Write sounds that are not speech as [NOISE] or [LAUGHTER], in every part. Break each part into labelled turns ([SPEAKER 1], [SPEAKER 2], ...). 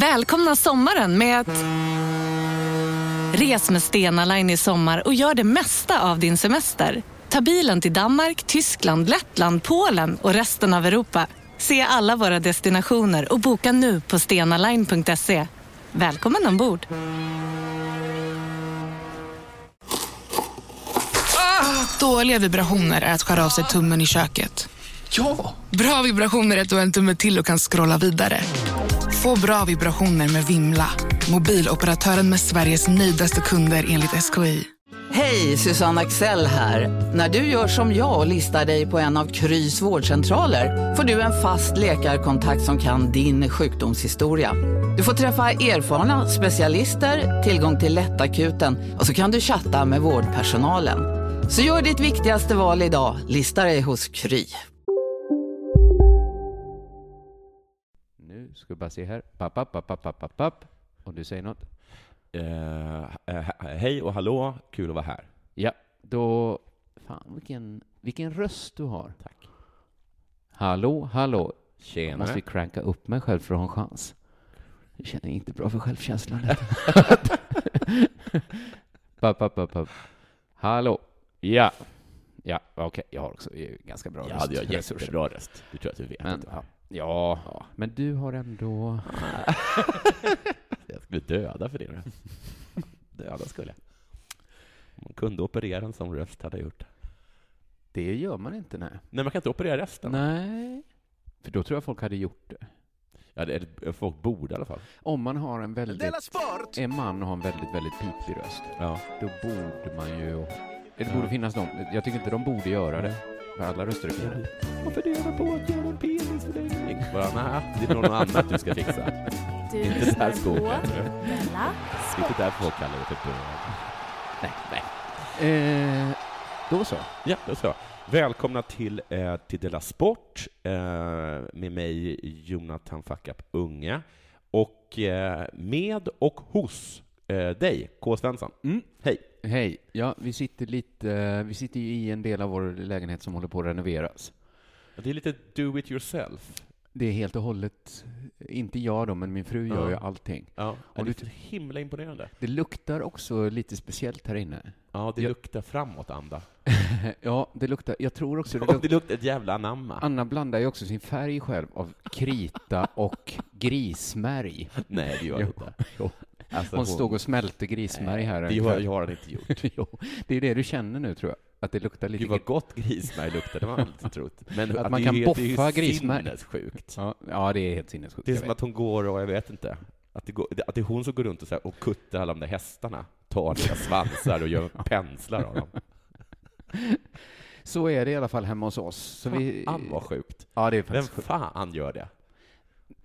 [SPEAKER 1] Välkomna sommaren med att... Res med Stena Line i sommar och gör det mesta av din semester. Ta bilen till Danmark, Tyskland, Lettland, Polen och resten av Europa. Se alla våra destinationer och boka nu på stenaline.se. Välkommen ombord!
[SPEAKER 2] Ah! Dåliga vibrationer är att skära av sig tummen i köket.
[SPEAKER 3] Ja!
[SPEAKER 2] Bra vibrationer är att du har en tumme till och kan scrolla vidare. Få bra vibrationer med Vimla. Mobiloperatören med Sveriges nöjdaste kunder enligt SKI.
[SPEAKER 4] Hej, Susanne Axel här. När du gör som jag och listar dig på en av Krys vårdcentraler får du en fast läkarkontakt som kan din sjukdomshistoria. Du får träffa erfarna specialister, tillgång till lättakuten och så kan du chatta med vårdpersonalen. Så gör ditt viktigaste val idag, listar dig hos Kry.
[SPEAKER 5] Nu ska vi bara se här. Papp, papp, papp, papp, papp, papp, papp. Om du säger något.
[SPEAKER 3] Eh, eh, hej och hallå, kul att vara här.
[SPEAKER 5] Ja, då... Fan, vilken, vilken röst du har. Tack. Hallå, hallå. Jag måste
[SPEAKER 3] Tjenare.
[SPEAKER 5] ju cranka upp mig själv för att ha en chans. Jag känner inte bra för självkänslan. [LAUGHS] papp, papp, papp, papp. Hallå. Ja. Ja, okej. Jag har också jag är ju ganska bra
[SPEAKER 3] Jag
[SPEAKER 5] röst.
[SPEAKER 3] hade ju en
[SPEAKER 5] Resurser.
[SPEAKER 3] jättebra röst. Du tror jag att du vet.
[SPEAKER 5] Men,
[SPEAKER 3] inte.
[SPEAKER 5] ja. Ja, men du har ändå...
[SPEAKER 3] Jag skulle döda för det. då. [LAUGHS] döda skulle jag. Om Man kunde operera en sån röst hade jag gjort. det.
[SPEAKER 5] Det gör man inte, nej.
[SPEAKER 3] Nej, man kan inte operera resten.
[SPEAKER 5] Nej. För då tror jag folk hade gjort det.
[SPEAKER 3] Ja, det, eller folk borde i alla fall.
[SPEAKER 5] Om man har en väldigt... En man och har en väldigt, väldigt pipig röst,
[SPEAKER 3] Ja.
[SPEAKER 5] då borde man ju... Det borde finnas de. Jag tycker inte de borde göra det. För alla röster är fina.
[SPEAKER 3] Jag funderar på att göra en penis för dig. Bara, nej, det är nog något annat du ska fixa.
[SPEAKER 6] Du
[SPEAKER 3] Inte så här skogen. Det
[SPEAKER 6] Della
[SPEAKER 3] är inte därför folk kallar det för bög.
[SPEAKER 5] Nej, nej. Eh, då så.
[SPEAKER 3] Ja, då så. Välkomna till, eh, till Della Sport eh, med mig, Jonathan Fackap Unge, och eh, med och hos eh, dig, K. Svensson.
[SPEAKER 5] Mm.
[SPEAKER 3] Hej.
[SPEAKER 5] Hej. Ja, vi sitter lite... Vi sitter ju i en del av vår lägenhet som håller på att renoveras.
[SPEAKER 3] Det är lite do it yourself.
[SPEAKER 5] Det är helt och hållet... Inte jag då, men min fru gör
[SPEAKER 3] Ja.
[SPEAKER 5] ju allting.
[SPEAKER 3] Ja,
[SPEAKER 5] Och
[SPEAKER 3] det är
[SPEAKER 5] du-
[SPEAKER 3] så himla imponerande.
[SPEAKER 5] Det luktar också lite speciellt här inne.
[SPEAKER 3] Ja, det
[SPEAKER 5] Ja.
[SPEAKER 3] luktar framåt, Anda.
[SPEAKER 5] Ja, det luktar... Jag tror också det
[SPEAKER 3] Och
[SPEAKER 5] luktar...
[SPEAKER 3] [LAUGHS] det luktar ett jävla anamma.
[SPEAKER 5] Anna blandar ju också sin färg själv av krita och grismärg.
[SPEAKER 3] Nej, det gör det
[SPEAKER 5] Ah. Jo,
[SPEAKER 3] inte.
[SPEAKER 5] jo.
[SPEAKER 3] Alltså,
[SPEAKER 5] Hon stog och smälte grismärg här.
[SPEAKER 3] Det har, jag har den inte gjort.
[SPEAKER 5] [LAUGHS] Jo, det är det du känner nu, tror jag. Att det luktar lite...
[SPEAKER 3] Gud vad gott grismärg luktar, det har man inte trott. Men
[SPEAKER 5] Att
[SPEAKER 3] det
[SPEAKER 5] man
[SPEAKER 3] är
[SPEAKER 5] kan
[SPEAKER 3] ju- det är ju
[SPEAKER 5] boffa grismärg.
[SPEAKER 3] Sinnessjukt.
[SPEAKER 5] Ja, ja, det är helt sinnessjukt.
[SPEAKER 3] Det är
[SPEAKER 5] jag
[SPEAKER 3] som
[SPEAKER 5] vet.
[SPEAKER 3] att hon går och jag vet inte. Att det, går, att det är hon som går runt och, så här, och kuttar alla de där hästarna, tar
[SPEAKER 5] [LAUGHS]
[SPEAKER 3] deras svansar och gör penslar av dem.
[SPEAKER 5] Så är det i alla fall hemma hos oss. Så vi...
[SPEAKER 3] Fan vad sjukt.
[SPEAKER 5] Ja, det är
[SPEAKER 3] Vem
[SPEAKER 5] faktiskt sjukt.
[SPEAKER 3] fan gör det?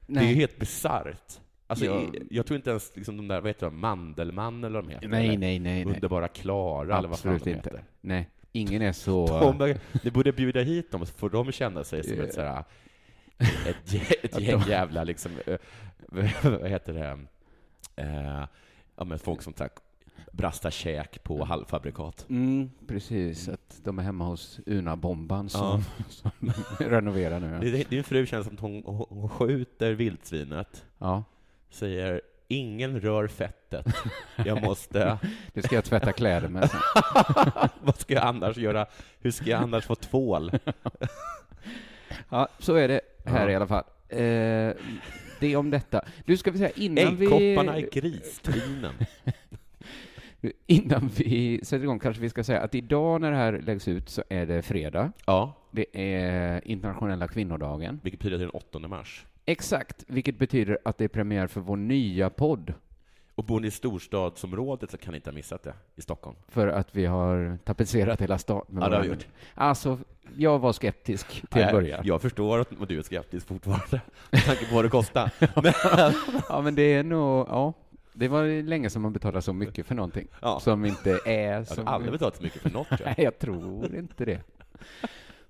[SPEAKER 3] Det är ju
[SPEAKER 5] Nej.
[SPEAKER 3] helt bisarrt. Alltså,
[SPEAKER 5] Ja.
[SPEAKER 3] jag, jag tror inte ens liksom, de där, vad heter de, Mandelmann eller vad de heter?
[SPEAKER 5] nej,
[SPEAKER 3] eller
[SPEAKER 5] nej, nej, nej.
[SPEAKER 3] Underbara Klara eller vad fan
[SPEAKER 5] Absolut
[SPEAKER 3] de
[SPEAKER 5] inte.
[SPEAKER 3] heter.
[SPEAKER 5] Nej, ingen är så...
[SPEAKER 3] De, ni borde bjuda hit dem, så får de känna sig som ett, sådär, ett,
[SPEAKER 5] [LAUGHS]
[SPEAKER 3] gäng- ett gäng jävla, liksom, eh, [LAUGHS] vad heter det, eh, ja, men folk som tack, brastar käk på halvfabrikat.
[SPEAKER 5] Mm, precis, att de är hemma hos Una-bomban som, [LAUGHS]
[SPEAKER 3] [LAUGHS]
[SPEAKER 5] som renoverar nu. Ja.
[SPEAKER 3] Det- Din fru känns som att hon, hon hon skjuter vildsvinet,
[SPEAKER 5] ja,
[SPEAKER 3] säger ”ingen rör fettet,
[SPEAKER 5] [LAUGHS]
[SPEAKER 3] jag måste,
[SPEAKER 5] det ska jag tvätta kläder med
[SPEAKER 3] [LAUGHS]
[SPEAKER 5] sen.
[SPEAKER 3] vad ska jag annars göra, hur ska jag annars få tvål?”
[SPEAKER 5] Ja, så är det här
[SPEAKER 3] Ja.
[SPEAKER 5] i alla fall. Eh, det är om detta. Nu ska vi säga innan
[SPEAKER 3] Äggkopparna i
[SPEAKER 5] vi, [LAUGHS]
[SPEAKER 3] gristinen.
[SPEAKER 5] innan vi sätter igång kanske vi ska säga att idag när det här läggs ut så är det fredag.
[SPEAKER 3] Ja,
[SPEAKER 5] Det är internationella kvinnodagen.
[SPEAKER 3] vilket betyder den 8 mars.
[SPEAKER 5] Exakt, vilket betyder att det är premiär för vår nya podd
[SPEAKER 3] Och bor ni i storstadsområdet så kan ni inte ha missat det, i Stockholm.
[SPEAKER 5] för att vi har tapetserat hela stan. med
[SPEAKER 3] Ja, det har vi
[SPEAKER 5] våra-
[SPEAKER 3] gjort.
[SPEAKER 5] Alltså, jag var skeptisk till
[SPEAKER 3] Nej,
[SPEAKER 5] en början.
[SPEAKER 3] Jag förstår att vad du är
[SPEAKER 5] [LAUGHS]
[SPEAKER 3] skeptisk fortfarande, med tanke på vad det kostar. Men,
[SPEAKER 5] Ja, men det är nog, ja. Det var länge som man betalade så mycket för någonting
[SPEAKER 3] Ja.
[SPEAKER 5] som inte är
[SPEAKER 3] jag
[SPEAKER 5] som...
[SPEAKER 3] har aldrig betalat så mycket för något, tror
[SPEAKER 5] Nej,
[SPEAKER 3] jag.
[SPEAKER 5] jag tror inte det.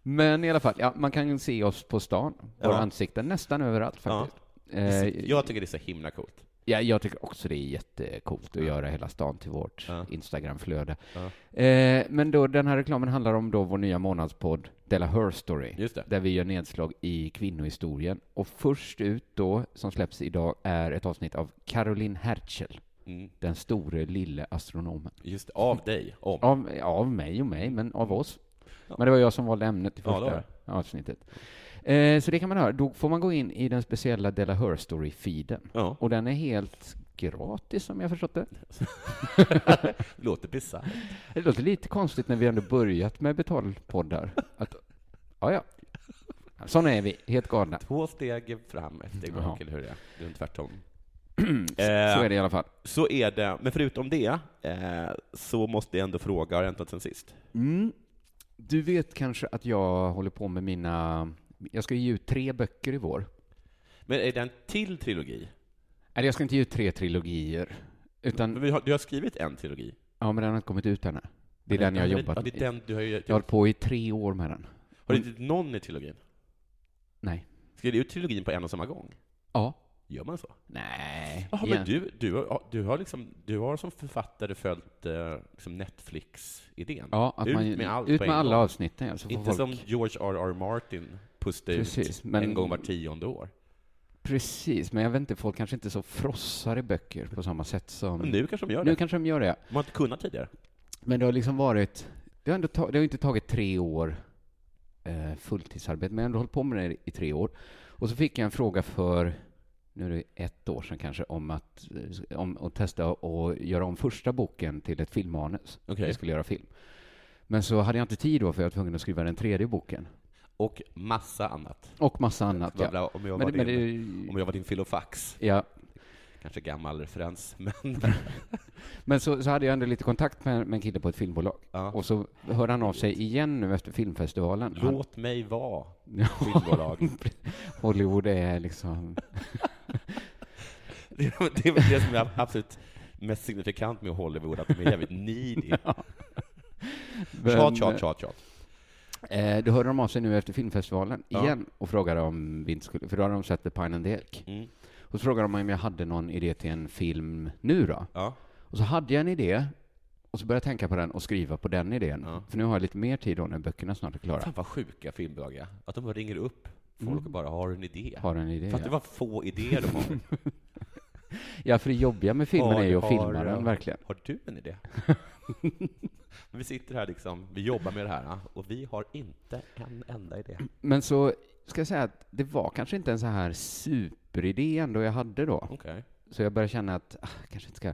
[SPEAKER 5] Men i alla fall, ja, man kan se oss på stan, våra
[SPEAKER 3] Ja.
[SPEAKER 5] ansikten, nästan överallt faktiskt. Eh,
[SPEAKER 3] Jag tycker det är så himla coolt.
[SPEAKER 5] Ja, jag tycker också det är jättecoolt att göra hela stan till vårt
[SPEAKER 3] Ja.
[SPEAKER 5] Instagramflöde.
[SPEAKER 3] Ja.
[SPEAKER 5] Eh, men då, den här reklamen handlar om då vår nya månadspodd Della Her Story,
[SPEAKER 3] Just det.
[SPEAKER 5] där vi gör nedslag i kvinnohistorien. Och först ut då, som släpps idag, är ett avsnitt av Caroline Hertzl,
[SPEAKER 3] Mm.
[SPEAKER 5] den store lille astronomen.
[SPEAKER 3] Just det, av dig, om.
[SPEAKER 5] Av, ja, av mig och mig, men av oss. Men det var jag som valde ämnet i
[SPEAKER 3] Ja, det
[SPEAKER 5] första
[SPEAKER 3] var
[SPEAKER 5] avsnittet. Eh, så det kan man höra. Då får man gå in i den speciella Della Her Story-feeden.
[SPEAKER 3] Ja.
[SPEAKER 5] Och den är helt gratis om jag förstått det.
[SPEAKER 3] Låter bisarrt.
[SPEAKER 5] Det låter lite konstigt när vi ändå börjat med
[SPEAKER 3] [LAUGHS]
[SPEAKER 5] betalpoddar. Att, ja, ja. Såna är vi, helt galna. [CLEARS THROAT]
[SPEAKER 3] Två steg fram, ett steg
[SPEAKER 5] Jaha.
[SPEAKER 3] bak, eller hur är det? Det är inte tvärtom.
[SPEAKER 5] Så
[SPEAKER 3] Eh,
[SPEAKER 5] är det i alla fall.
[SPEAKER 3] så är det. Men förutom det, eh, så måste jag ändå fråga, har det hänt något sen sist?
[SPEAKER 5] Mm. Du vet kanske att jag håller på med mina... Jag ska ge ut tre böcker i vår.
[SPEAKER 3] Men är det en till trilogi?
[SPEAKER 5] Mm. Eller jag ska inte ge ut tre trilogier.
[SPEAKER 3] Men
[SPEAKER 5] Utan,
[SPEAKER 3] vi har, du har skrivit en trilogi?
[SPEAKER 5] ja, men den har inte kommit ut ännu. Det är den jag har
[SPEAKER 3] Ja,
[SPEAKER 5] jobbat
[SPEAKER 3] det är
[SPEAKER 5] med.
[SPEAKER 3] den du har ju...
[SPEAKER 5] Jag har hållit på i tre år med den.
[SPEAKER 3] Har du inte gjort någon i trilogin?
[SPEAKER 5] Nej.
[SPEAKER 3] Skrev du ut trilogin på en och samma gång?
[SPEAKER 5] Ja.
[SPEAKER 3] Gör man så?
[SPEAKER 5] Nej.
[SPEAKER 3] Jaha,
[SPEAKER 5] Ja.
[SPEAKER 3] men du, du, har- du, har liksom, du har som författare följt eh, liksom Netflix-idén?
[SPEAKER 5] Ja, att
[SPEAKER 3] ut
[SPEAKER 5] man,
[SPEAKER 3] med allt
[SPEAKER 5] ut
[SPEAKER 3] på
[SPEAKER 5] med
[SPEAKER 3] en
[SPEAKER 5] alla
[SPEAKER 3] gång.
[SPEAKER 5] avsnitten. ja, Så får
[SPEAKER 3] Inte
[SPEAKER 5] folk...
[SPEAKER 3] som George R.R. Martin pustar
[SPEAKER 5] Precis,
[SPEAKER 3] ut
[SPEAKER 5] men-
[SPEAKER 3] en gång var tionde år.
[SPEAKER 5] Precis, men jag vet inte, folk kanske inte så frossar i böcker på samma sätt som...
[SPEAKER 3] Men nu kanske de gör det.
[SPEAKER 5] Mm. Nu kanske de gör det, ja.
[SPEAKER 3] De har inte kunnat tidigare.
[SPEAKER 5] Men det har liksom varit... Det har, ändå ta, det har inte tagit tre år eh, fulltidsarbete, men jag har ändå hållit på med det i tre år. Och så fick jag en fråga för, nu är det ett år sedan kanske, om att, eh, om, att testa och göra om första boken till ett filmmanus.
[SPEAKER 3] Okej.
[SPEAKER 5] Jag skulle göra film. Men så hade jag inte tid då, för jag var tvungen att skriva den tredje boken.
[SPEAKER 3] Och massa annat.
[SPEAKER 5] Och massa annat.
[SPEAKER 3] Vad
[SPEAKER 5] Ja.
[SPEAKER 3] bra Om, jag
[SPEAKER 5] Men,
[SPEAKER 3] var
[SPEAKER 5] men
[SPEAKER 3] din,
[SPEAKER 5] det,
[SPEAKER 3] om jag var din filofax.
[SPEAKER 5] ja,
[SPEAKER 3] Kanske gammal referens, men...
[SPEAKER 5] Men så, så hade jag ändå lite kontakt med, med en kille på ett filmbolag.
[SPEAKER 3] Ja.
[SPEAKER 5] Och så hör han av sig igen nu efter filmfestivalen. Han,
[SPEAKER 3] Låt mig vara,
[SPEAKER 5] Ja. [LAUGHS]
[SPEAKER 3] filmbolag.
[SPEAKER 5] Hollywood är liksom...
[SPEAKER 3] Det är det, är väl det som är absolut mest signifikant med Hollywood, att de
[SPEAKER 5] [LAUGHS]
[SPEAKER 3] är jävligt needy. Tjat, tjat, tjat, tjat.
[SPEAKER 5] Eh, då hörde de av sig nu efter filmfestivalen
[SPEAKER 3] Ja.
[SPEAKER 5] igen och frågade om vi inte skulle... För då hade de sett The Pine and the Elk.
[SPEAKER 3] Mm.
[SPEAKER 5] Och så frågade de om jag hade någon idé till en film nu då.
[SPEAKER 3] Ja.
[SPEAKER 5] Och så hade jag en idé och så började jag tänka på den och skriva på den idén.
[SPEAKER 3] Ja.
[SPEAKER 5] För nu har jag lite mer tid då när böckerna snart är
[SPEAKER 3] Fan
[SPEAKER 5] klara.
[SPEAKER 3] vad sjuka filmbolag är. Att de bara ringer upp folk och bara har en idé.
[SPEAKER 5] Har en idé.
[SPEAKER 3] För att det
[SPEAKER 5] ja.
[SPEAKER 3] var få idéer de har.
[SPEAKER 5] Ja, för det jobbiga med [LAUGHS] filmen
[SPEAKER 3] Har-
[SPEAKER 5] är ju att
[SPEAKER 3] har-
[SPEAKER 5] filma den verkligen.
[SPEAKER 3] Har du
[SPEAKER 5] [LAUGHS]
[SPEAKER 3] en idé? vi sitter här liksom, vi jobbar med det här och vi har inte en enda idé.
[SPEAKER 5] Men så ska jag säga att det var kanske inte en så här superidé ändå jag hade då.
[SPEAKER 3] Okej.
[SPEAKER 5] Så jag började känna att, ah, kanske inte ska.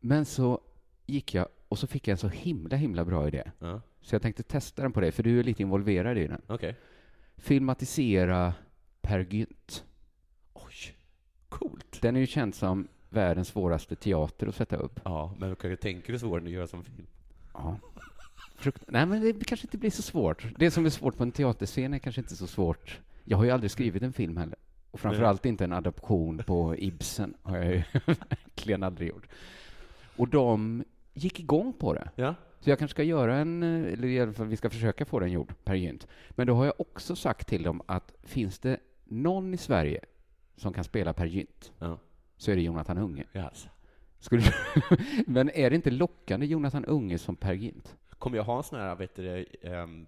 [SPEAKER 5] Men så gick jag och så fick jag en så himla, himla bra idé.
[SPEAKER 3] Ja.
[SPEAKER 5] Så jag tänkte testa den på dig, för du är lite involverad i den.
[SPEAKER 3] Okej.
[SPEAKER 5] Filmatisera Per Gynt.
[SPEAKER 3] Oj, coolt.
[SPEAKER 5] Den är ju känd som världens svåraste teater att sätta upp.
[SPEAKER 3] Ja, men kanske tänker du svårare än att göra som film?
[SPEAKER 5] Ja. Frukt- Nej, men det kanske inte blir så svårt. Det som är svårt på en teaterscen är kanske inte så svårt. Jag har ju aldrig skrivit en film heller. Och framförallt inte en adaption på Ibsen har jag ju [LAUGHS] verkligen aldrig gjort. Och de gick igång på det.
[SPEAKER 3] Ja.
[SPEAKER 5] Så jag kanske ska göra en, eh, eller i alla fall vi ska försöka få den gjord, Per Gynt. Men då har jag också sagt till dem att finns det någon i Sverige som kan spela Per Gynt
[SPEAKER 3] Ja.
[SPEAKER 5] så är det Jonathan Unge.
[SPEAKER 3] Yes.
[SPEAKER 5] Skulle [LAUGHS] Men är det inte lockande Jonathan Unge som Per Gynt?
[SPEAKER 3] Kommer jag ha en sån här, vet du det, ehm,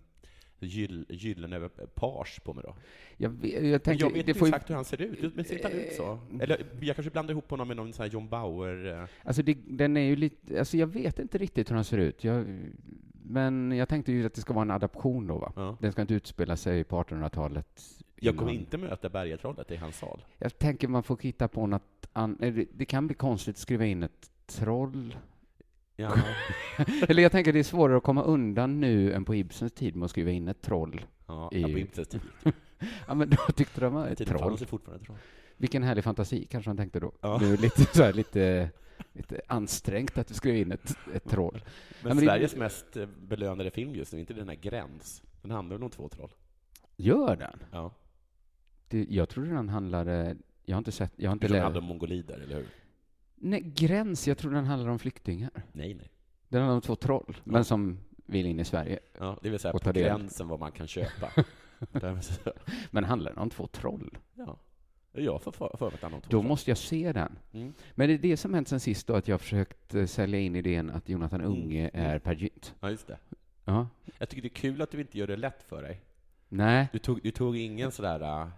[SPEAKER 3] gyll, gyllene page på mig då?
[SPEAKER 5] Jag, vet- jag
[SPEAKER 3] Men
[SPEAKER 5] tänker,
[SPEAKER 3] jag vet
[SPEAKER 5] det
[SPEAKER 3] inte
[SPEAKER 5] får ju, Eh, mm.
[SPEAKER 3] exakt hur han ser ut, men ser inte han ut så? Eller jag kanske blandar ihop honom med någon sån här John Bauer... eh,
[SPEAKER 5] alltså det, den är ju lite, alltså jag vet inte riktigt hur han ser ut. Jag, men jag tänkte ju att det ska vara en adaption då, va?
[SPEAKER 3] Ja.
[SPEAKER 5] Den ska inte utspela sig på 1800-talet.
[SPEAKER 3] Jag kommer
[SPEAKER 5] innan.
[SPEAKER 3] inte möta bergatrollet i hans sal.
[SPEAKER 5] Jag tänker man får hitta på något an, eh, det- Det kan bli konstigt att skriva in ett
[SPEAKER 3] [LAUGHS]
[SPEAKER 5] troll.
[SPEAKER 3] Ja.
[SPEAKER 5] Eller jag tänker det är svårare att komma undan nu än på Ibsens tid med att skriva in ett troll.
[SPEAKER 3] Ja,
[SPEAKER 5] I-
[SPEAKER 3] ja, på Ibsens tid.
[SPEAKER 5] Ja, men då tyckte de att ett
[SPEAKER 3] Tiden
[SPEAKER 5] troll.
[SPEAKER 3] fanns det fortfarande troll.
[SPEAKER 5] Vilken härlig fantasi, kanske han tänkte då.
[SPEAKER 3] Ja.
[SPEAKER 5] Nu lite, så här, lite, lite ansträngt att du skrev in ett, ett troll.
[SPEAKER 3] Men,
[SPEAKER 5] men det-
[SPEAKER 3] Sveriges mest eh, belönade film just nu, inte den här Gräns. Den handlar väl om två troll?
[SPEAKER 5] Gör den?
[SPEAKER 3] Ja.
[SPEAKER 5] Det, jag trodde den handlade... Jag har inte sett... Jag har inte
[SPEAKER 3] Den handlar
[SPEAKER 5] läst...
[SPEAKER 3] om mongolider, eller hur?
[SPEAKER 5] Nej, gräns. Jag trodde den handlade om flyktingar.
[SPEAKER 3] Nej, nej.
[SPEAKER 5] Den handlar om två troll, men som vill in i Sverige.
[SPEAKER 3] Ja, det vill säga
[SPEAKER 5] Och
[SPEAKER 3] på
[SPEAKER 5] ta del. [LAUGHS]
[SPEAKER 3] gränsen vad man kan köpa. Där-
[SPEAKER 5] Men handlar den om två troll?
[SPEAKER 3] ja. Jag får för, för mig att han har två
[SPEAKER 5] Då
[SPEAKER 3] fall.
[SPEAKER 5] måste jag se den.
[SPEAKER 3] Mm.
[SPEAKER 5] Men det är det som hänt sen sist då, att jag har försökt eh, sälja in idén att Jonathan
[SPEAKER 3] Mm.
[SPEAKER 5] Unge är Per Gynt.
[SPEAKER 3] Ja, just det.
[SPEAKER 5] Ja.
[SPEAKER 3] Jag tycker det är kul att du inte gör det lätt för dig.
[SPEAKER 5] Nej.
[SPEAKER 3] Du tog, du tog ingen sådär äh,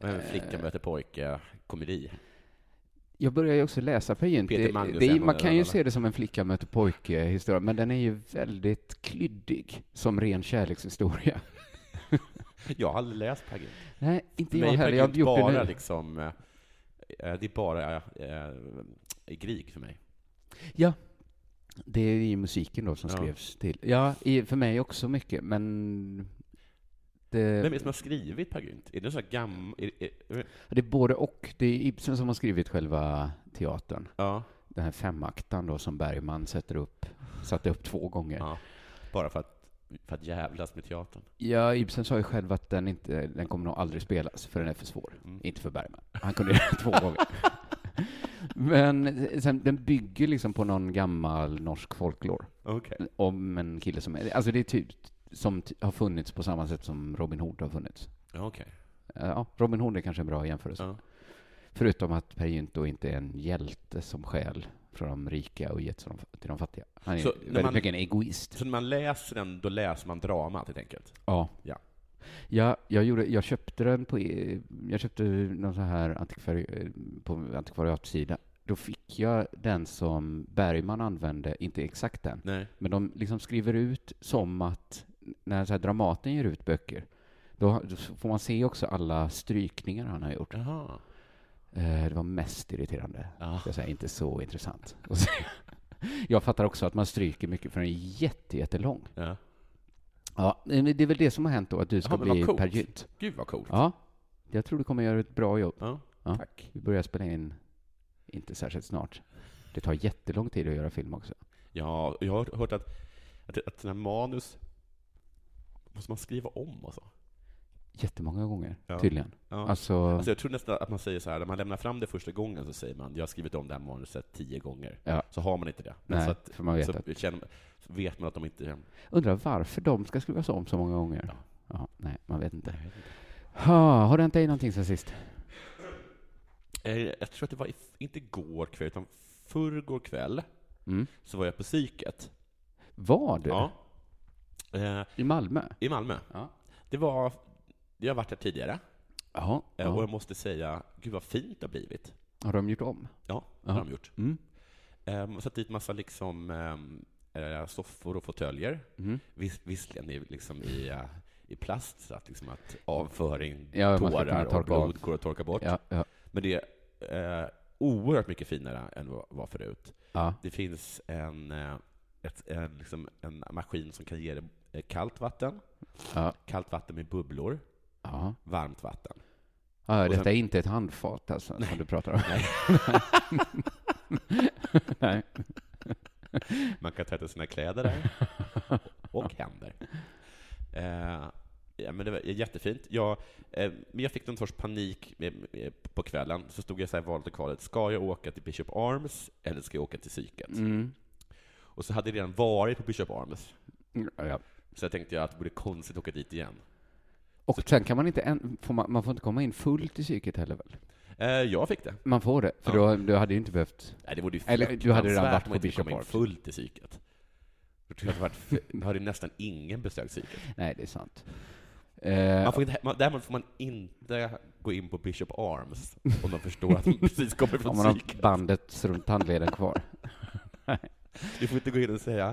[SPEAKER 5] Eh.
[SPEAKER 3] flicka möter pojke komedi.
[SPEAKER 5] Jag börjar ju också läsa Per Gynt.
[SPEAKER 3] Peter
[SPEAKER 5] Det-
[SPEAKER 3] Magnus
[SPEAKER 5] det är-
[SPEAKER 3] är en
[SPEAKER 5] Man
[SPEAKER 3] av
[SPEAKER 5] kan
[SPEAKER 3] dem,
[SPEAKER 5] ju
[SPEAKER 3] eller?
[SPEAKER 5] se det som en flicka möter pojke-historia, men den är ju väldigt klyddig som ren kärlekshistoria. [LAUGHS]
[SPEAKER 3] Jag har aldrig läst Peer Gynt.
[SPEAKER 5] Nej, inte
[SPEAKER 3] För
[SPEAKER 5] jag
[SPEAKER 3] mig är
[SPEAKER 5] heller.
[SPEAKER 3] Peer
[SPEAKER 5] Jag har
[SPEAKER 3] Gynt
[SPEAKER 5] gjort det
[SPEAKER 3] bara
[SPEAKER 5] nu.
[SPEAKER 3] liksom, eh, eh, det är bara eh, Grieg för
[SPEAKER 5] Eh.
[SPEAKER 3] mig.
[SPEAKER 5] Ja. Det är ju musiken då som
[SPEAKER 3] Ja.
[SPEAKER 5] skrevs till. Ja, i, för mig också mycket, men... Det,
[SPEAKER 3] Vem är det som har skrivit Peer Gynt? Är det så här gammal?
[SPEAKER 5] det är både och. Det är Ibsen som har skrivit själva teatern.
[SPEAKER 3] Ja,
[SPEAKER 5] Den här femaktaren då som Bergman sätter upp, satte upp två gånger.
[SPEAKER 3] ja. Bara för att, för att jävlas med teatern.
[SPEAKER 5] Ja, Ibsen sa ju själv att den, inte, den kommer nog aldrig spelas, för den är för svår.
[SPEAKER 3] Mm.
[SPEAKER 5] Inte för Bergman. Han kunde göra
[SPEAKER 3] [LAUGHS]
[SPEAKER 5] den två gånger. Men sen, den bygger liksom på någon gammal norsk folklore
[SPEAKER 3] Okej.
[SPEAKER 5] om en kille som är... Alltså det är typ som ty- har funnits på samma sätt som Robin Hood har funnits.
[SPEAKER 3] Ja, Okej.
[SPEAKER 5] Eh, Ja, Robin Hood är kanske en bra jämförelse.
[SPEAKER 3] Ja.
[SPEAKER 5] Förutom att Peer Gynt då inte är en hjälte som stjäl från de rika och gett till de- till de fattiga. Han är
[SPEAKER 3] Så när
[SPEAKER 5] väldigt
[SPEAKER 3] man-
[SPEAKER 5] mycket en egoist.
[SPEAKER 3] Så när man läser den, då läser man dramat helt enkelt?
[SPEAKER 5] Ja.
[SPEAKER 3] Ja.
[SPEAKER 5] Ja, jag, gjorde, jag köpte den på, eh, jag köpte någon så här antikvari, eh, på antikvariatsida. Då fick jag den som Bergman använde, inte exakt den,
[SPEAKER 3] Nej.
[SPEAKER 5] men de liksom skriver ut som att när så här Dramaten ger ut böcker, då, har- då får man se också alla strykningar han har gjort.
[SPEAKER 3] Jaha.
[SPEAKER 5] Eh, Det var mest irriterande.
[SPEAKER 3] Ja.
[SPEAKER 5] Jag säger inte så intressant. Och så- [LAUGHS] Jag fattar också att man stryker mycket för den är jätte, jättelång.
[SPEAKER 3] Ja.
[SPEAKER 5] Ja, men det är väl det som har hänt då, att du ska
[SPEAKER 3] Jaha, men vad
[SPEAKER 5] bli
[SPEAKER 3] coolt.
[SPEAKER 5] Peer Gynt.
[SPEAKER 3] Gud vad coolt.
[SPEAKER 5] Ja, jag tror du kommer göra ett bra jobb.
[SPEAKER 3] Ja.
[SPEAKER 5] Ja.
[SPEAKER 3] Tack.
[SPEAKER 5] Vi börjar spela in inte särskilt snart. Det tar jättelång tid att göra film också.
[SPEAKER 3] Ja, jag har hört att, att, att sådana här manus måste man skriva om och så.
[SPEAKER 5] Jättemånga gånger,
[SPEAKER 3] Ja.
[SPEAKER 5] tydligen.
[SPEAKER 3] Ja.
[SPEAKER 5] Alltså,
[SPEAKER 3] Alltså jag tror nästan att man säger så här, när man lämnar fram det första gången så säger man jag har skrivit om det här manuset tio gånger.
[SPEAKER 5] Ja.
[SPEAKER 3] Så har man inte det. Men
[SPEAKER 5] nej,
[SPEAKER 3] så, att,
[SPEAKER 5] för man vet
[SPEAKER 3] så,
[SPEAKER 5] att...
[SPEAKER 3] känner, så vet man att de inte...
[SPEAKER 5] Undrar varför de ska skrivas om så många gånger?
[SPEAKER 3] Ja.
[SPEAKER 5] Ja. nej, man vet inte.
[SPEAKER 3] Nej.
[SPEAKER 5] Ha, har det hänt dig någonting sen sist?
[SPEAKER 3] Eh, Jag tror att det var, i- inte igår kväll, utan förrgår kväll,
[SPEAKER 5] Mm.
[SPEAKER 3] så var jag på psyket.
[SPEAKER 5] Var du?
[SPEAKER 3] Ja. Eh,
[SPEAKER 5] I Malmö?
[SPEAKER 3] I Malmö.
[SPEAKER 5] Ja.
[SPEAKER 3] Det var... Jag har varit här tidigare,
[SPEAKER 5] Jaha.
[SPEAKER 3] eh, och
[SPEAKER 5] Ja.
[SPEAKER 3] jag måste säga, gud vad fint det har blivit.
[SPEAKER 5] Har de gjort om?
[SPEAKER 3] Ja, det
[SPEAKER 5] Ja.
[SPEAKER 3] har de gjort.
[SPEAKER 5] Mm.
[SPEAKER 3] Um, satt dit massa liksom, ehm, eh, soffor och fåtöljer.
[SPEAKER 5] Mm.
[SPEAKER 3] Vis, visserligen i, liksom i, eh, i plast, så att, liksom att avföring,
[SPEAKER 5] Ja, man ska kunna
[SPEAKER 3] tårar och
[SPEAKER 5] torka
[SPEAKER 3] blod
[SPEAKER 5] bort.
[SPEAKER 3] går att torka bort.
[SPEAKER 5] Ja, ja.
[SPEAKER 3] Men det är eh, oerhört mycket finare än vad var förut.
[SPEAKER 5] ja.
[SPEAKER 3] Det finns en, eh, ett, en, liksom, en maskin som kan ge dig eh, kallt vatten,
[SPEAKER 5] ja.
[SPEAKER 3] kallt vatten med bubblor,
[SPEAKER 5] ja.
[SPEAKER 3] varmt vatten.
[SPEAKER 5] Ja,
[SPEAKER 3] Och
[SPEAKER 5] detta
[SPEAKER 3] sen-
[SPEAKER 5] är inte ett handfat alltså,
[SPEAKER 3] Nej.
[SPEAKER 5] som du pratar om. Nej. [LAUGHS] Nej.
[SPEAKER 3] Man kan tvätta sina kläder där. Och händer. Eh, ja, men det var jättefint. Jag, eh, men jag fick någon sorts panik eh, eh, på kvällen. Så stod jag så här i valet och kvalet. Ska jag åka till Bishop Arms eller ska jag åka till psyket?
[SPEAKER 5] Mm.
[SPEAKER 3] Och så hade jag redan varit på Bishop Arms.
[SPEAKER 5] Ja.
[SPEAKER 3] Så jag tänkte jag att det vore konstigt att åka dit igen.
[SPEAKER 5] Och sen kan man inte, en, får man, man får inte komma in fullt i psyket heller väl?
[SPEAKER 3] Eh, jag fick det.
[SPEAKER 5] Man får det, för då, du hade ju inte behövt...
[SPEAKER 3] Nej, det vore ju
[SPEAKER 5] Eller, du hade redan
[SPEAKER 3] fruktansvärt
[SPEAKER 5] varit på
[SPEAKER 3] om jag inte
[SPEAKER 5] Bishop
[SPEAKER 3] kom in
[SPEAKER 5] Arms.
[SPEAKER 3] fullt i psyket. Då tror jag att det varit- då hade nästan ingen besökt psyket.
[SPEAKER 5] Nej, det är sant. Eh,
[SPEAKER 3] Man får inte, man, däremot får man inte gå in på Bishop Arms om de förstår
[SPEAKER 5] [LAUGHS]
[SPEAKER 3] att de precis kommer
[SPEAKER 5] om
[SPEAKER 3] från
[SPEAKER 5] man har
[SPEAKER 3] psyket.
[SPEAKER 5] bandet runt tandleden kvar.
[SPEAKER 3] Du får inte gå in och säga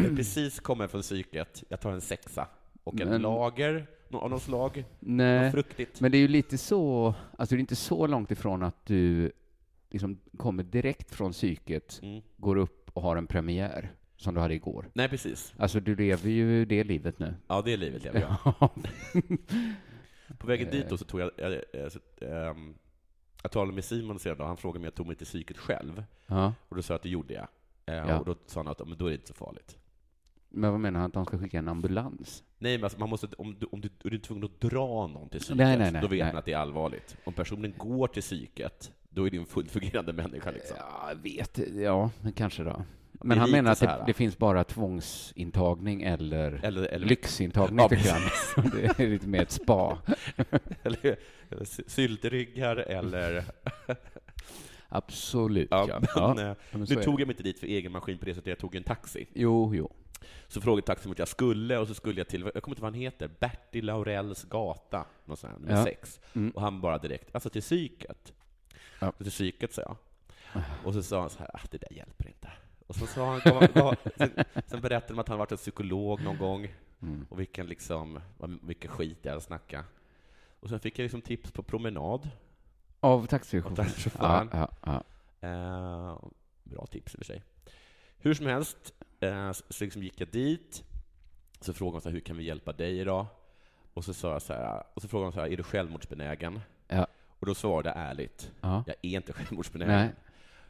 [SPEAKER 5] Mm.
[SPEAKER 3] jag precis kommer från psyket, jag tar en sexa och en
[SPEAKER 5] Men-
[SPEAKER 3] lager nå- av något slag. Vad
[SPEAKER 5] Nej,
[SPEAKER 3] fruktigt.
[SPEAKER 5] men det är ju lite så, alltså det är inte så långt ifrån att du liksom kommer direkt från psyket,
[SPEAKER 3] Mm.
[SPEAKER 5] går upp och har en premiär, som du hade igår.
[SPEAKER 3] Nej, precis.
[SPEAKER 5] Alltså du lever ju det livet nu.
[SPEAKER 3] Ja, det är livet lever jag. På vägen dit då
[SPEAKER 5] Eh.
[SPEAKER 3] så tog jag... jag, jag, så, ehm, jag talade med Simon senare, han frågade om jag tog mig till psyket själv.
[SPEAKER 5] [LAUGHS] ja.
[SPEAKER 3] Och då sa jag att det gjorde jag. Eh,
[SPEAKER 5] Ja.
[SPEAKER 3] Och då sa han att men då är det inte så farligt.
[SPEAKER 5] Men vad menar han att de ska skicka en ambulans?
[SPEAKER 3] Nej, men alltså, man måste, om, du, om du, är du tvungen att dra någon till psyket,
[SPEAKER 5] Nej, nej, nej,
[SPEAKER 3] då vet
[SPEAKER 5] nej.
[SPEAKER 3] man att det är allvarligt. Om personen går till psyket, då är det en fullt fungerande människa. Liksom.
[SPEAKER 5] Ja, jag vet. Ja, men kanske då.
[SPEAKER 3] Det
[SPEAKER 5] Men
[SPEAKER 3] är
[SPEAKER 5] han
[SPEAKER 3] lite
[SPEAKER 5] menar att
[SPEAKER 3] så
[SPEAKER 5] det,
[SPEAKER 3] här.
[SPEAKER 5] det finns bara tvångsintagning eller,
[SPEAKER 3] Eller, eller,
[SPEAKER 5] lyxintagning,
[SPEAKER 3] Ja,
[SPEAKER 5] tycker han. [LAUGHS] Det är lite mer ett spa.
[SPEAKER 3] [LAUGHS] eller, eller sy- syltryggar eller...
[SPEAKER 5] Absolut,
[SPEAKER 3] Ja,
[SPEAKER 5] ja. Ja.
[SPEAKER 3] men, eh,
[SPEAKER 5] Ja, men så
[SPEAKER 3] nu
[SPEAKER 5] är
[SPEAKER 3] tog
[SPEAKER 5] det.
[SPEAKER 3] jag mig inte dit för egen maskin på det sättet, jag tog en taxi.
[SPEAKER 5] Jo, jo.
[SPEAKER 3] Så frågade taxin vart jag skulle och så skulle jag till, jag kommer inte ihåg vad han heter, Bertil Laurells gata, något sånt här, nummer
[SPEAKER 5] Ja.
[SPEAKER 3] sex.
[SPEAKER 5] Mm.
[SPEAKER 3] Och han bara direkt, alltså till psyket.
[SPEAKER 5] Ja.
[SPEAKER 3] Till psyket, sa jag. Och så sa han så här, ah, det där hjälper inte. Och så sa han, gav, gav, sen, sen berättade de att han varit en psykolog någon gång,
[SPEAKER 5] Mm.
[SPEAKER 3] och vilken liksom, vad mycket skit jag hade snackat. Och sen fick jag liksom tips på promenad.
[SPEAKER 5] Av
[SPEAKER 3] Av
[SPEAKER 5] taxichauffören?
[SPEAKER 3] taxichauffören.
[SPEAKER 5] Ja, ja, ja.
[SPEAKER 3] Eh, bra tips i och för sig. Hur som helst, eh, så så liksom gick jag dit, så frågade hon så här, hur kan vi hjälpa dig idag? Och så, sa jag så här, och så frågade hon så här, är du självmordsbenägen?
[SPEAKER 5] Ja.
[SPEAKER 3] Och då svarade jag ärligt,
[SPEAKER 5] ja.
[SPEAKER 3] jag är inte självmordsbenägen.
[SPEAKER 5] Nej.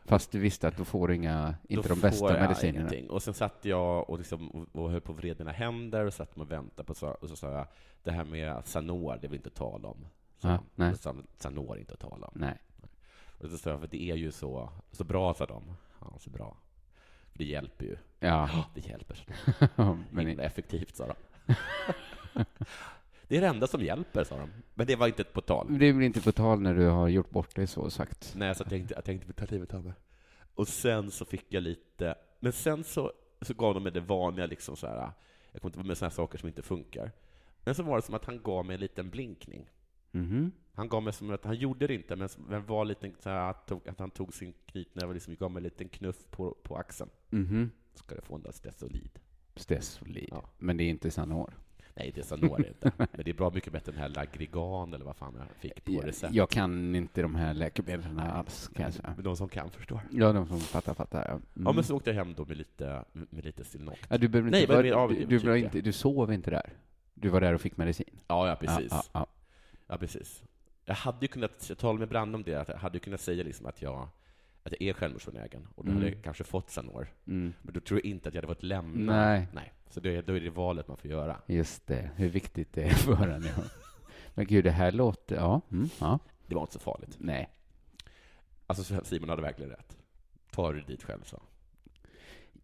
[SPEAKER 5] Fast du visste att du får inga, inte
[SPEAKER 3] Då
[SPEAKER 5] de
[SPEAKER 3] får
[SPEAKER 5] bästa
[SPEAKER 3] jag
[SPEAKER 5] medicinerna.
[SPEAKER 3] ingenting. Och sen satt jag och, liksom, och- och höll på att vrida mina händer och satt och väntade på så, och så sa jag, det här med att Sanor, det vill inte tala om. Så,
[SPEAKER 5] Ja, nej.
[SPEAKER 3] och så sa han, Sanor inte att tala om.
[SPEAKER 5] Nej.
[SPEAKER 3] Och så sa jag, för det är ju så, så bra, sa de. Ja, så bra. För det hjälper ju.
[SPEAKER 5] Ja.
[SPEAKER 3] Ja, det hjälper.
[SPEAKER 5] [LAUGHS] Men,
[SPEAKER 3] Himla
[SPEAKER 5] [LAUGHS]
[SPEAKER 3] effektivt, sa de. det är det enda som hjälper, sa de. Men det var inte ett på tal.
[SPEAKER 5] Det blir inte på tal när du har gjort bort dig så sagt.
[SPEAKER 3] Nej, så jag tänkte, jag tänkte ta livet av mig. Och sen så fick jag lite, men sen så, så gav de mig det vanliga, liksom så här, jag kommer inte med sådana här saker som inte funkar. Men så var det som att han gav mig en liten blinkning.
[SPEAKER 5] Mhm.
[SPEAKER 3] Han gav mig som att, han gjorde det inte, men som- men var lite så här, att, tog, att han tog sin knytnäve och liksom gav mig en liten knuff på, på axeln.
[SPEAKER 5] Mhm.
[SPEAKER 3] Ska du få en solid?
[SPEAKER 5] Stesolid.
[SPEAKER 3] Ja.
[SPEAKER 5] Men det är inte Sanor.
[SPEAKER 3] Nej, det är Sanor
[SPEAKER 5] [LAUGHS]
[SPEAKER 3] inte. Men det är bra mycket bättre än den här Lagrigan eller vad fan jag fick på recept.
[SPEAKER 5] Jag kan inte de här läkemedlen alls, kan jag säga.
[SPEAKER 3] Men de som kan förstår.
[SPEAKER 5] Ja, de som fattar, fattar. Ja, Mm.
[SPEAKER 3] Ja, men så åkte jag hem då med lite, med lite Stilnox.
[SPEAKER 5] ja, du, behöver
[SPEAKER 3] Nej,
[SPEAKER 5] inte,
[SPEAKER 3] men mer
[SPEAKER 5] vara-
[SPEAKER 3] av-
[SPEAKER 5] du, du, var
[SPEAKER 3] tycker
[SPEAKER 5] inte, du sov inte där. Du var där och fick medicin.
[SPEAKER 3] Ja, ja, precis.
[SPEAKER 5] Ja,
[SPEAKER 3] Ja,
[SPEAKER 5] ja,
[SPEAKER 3] precis. Jag hade ju kunnat, jag talade med Brand om det, att jag hade ju kunnat säga liksom att jag, att jag är självmordsbenägen, och då hade
[SPEAKER 5] Mm.
[SPEAKER 3] jag kanske fått Sanor.
[SPEAKER 5] ja. Mm.
[SPEAKER 3] Men då tror jag inte att jag hade fått lämna.
[SPEAKER 5] Nej.
[SPEAKER 3] Nej. Så då är, då är det valet man får göra.
[SPEAKER 5] Just det, hur viktigt det är [LAUGHS] för henne. ja. Men gud, det här låter... Ja. Mm. ja.
[SPEAKER 3] Det var inte så farligt.
[SPEAKER 5] Nej.
[SPEAKER 3] Alltså så- Simon hade verkligen rätt. Ta du dit själv, så.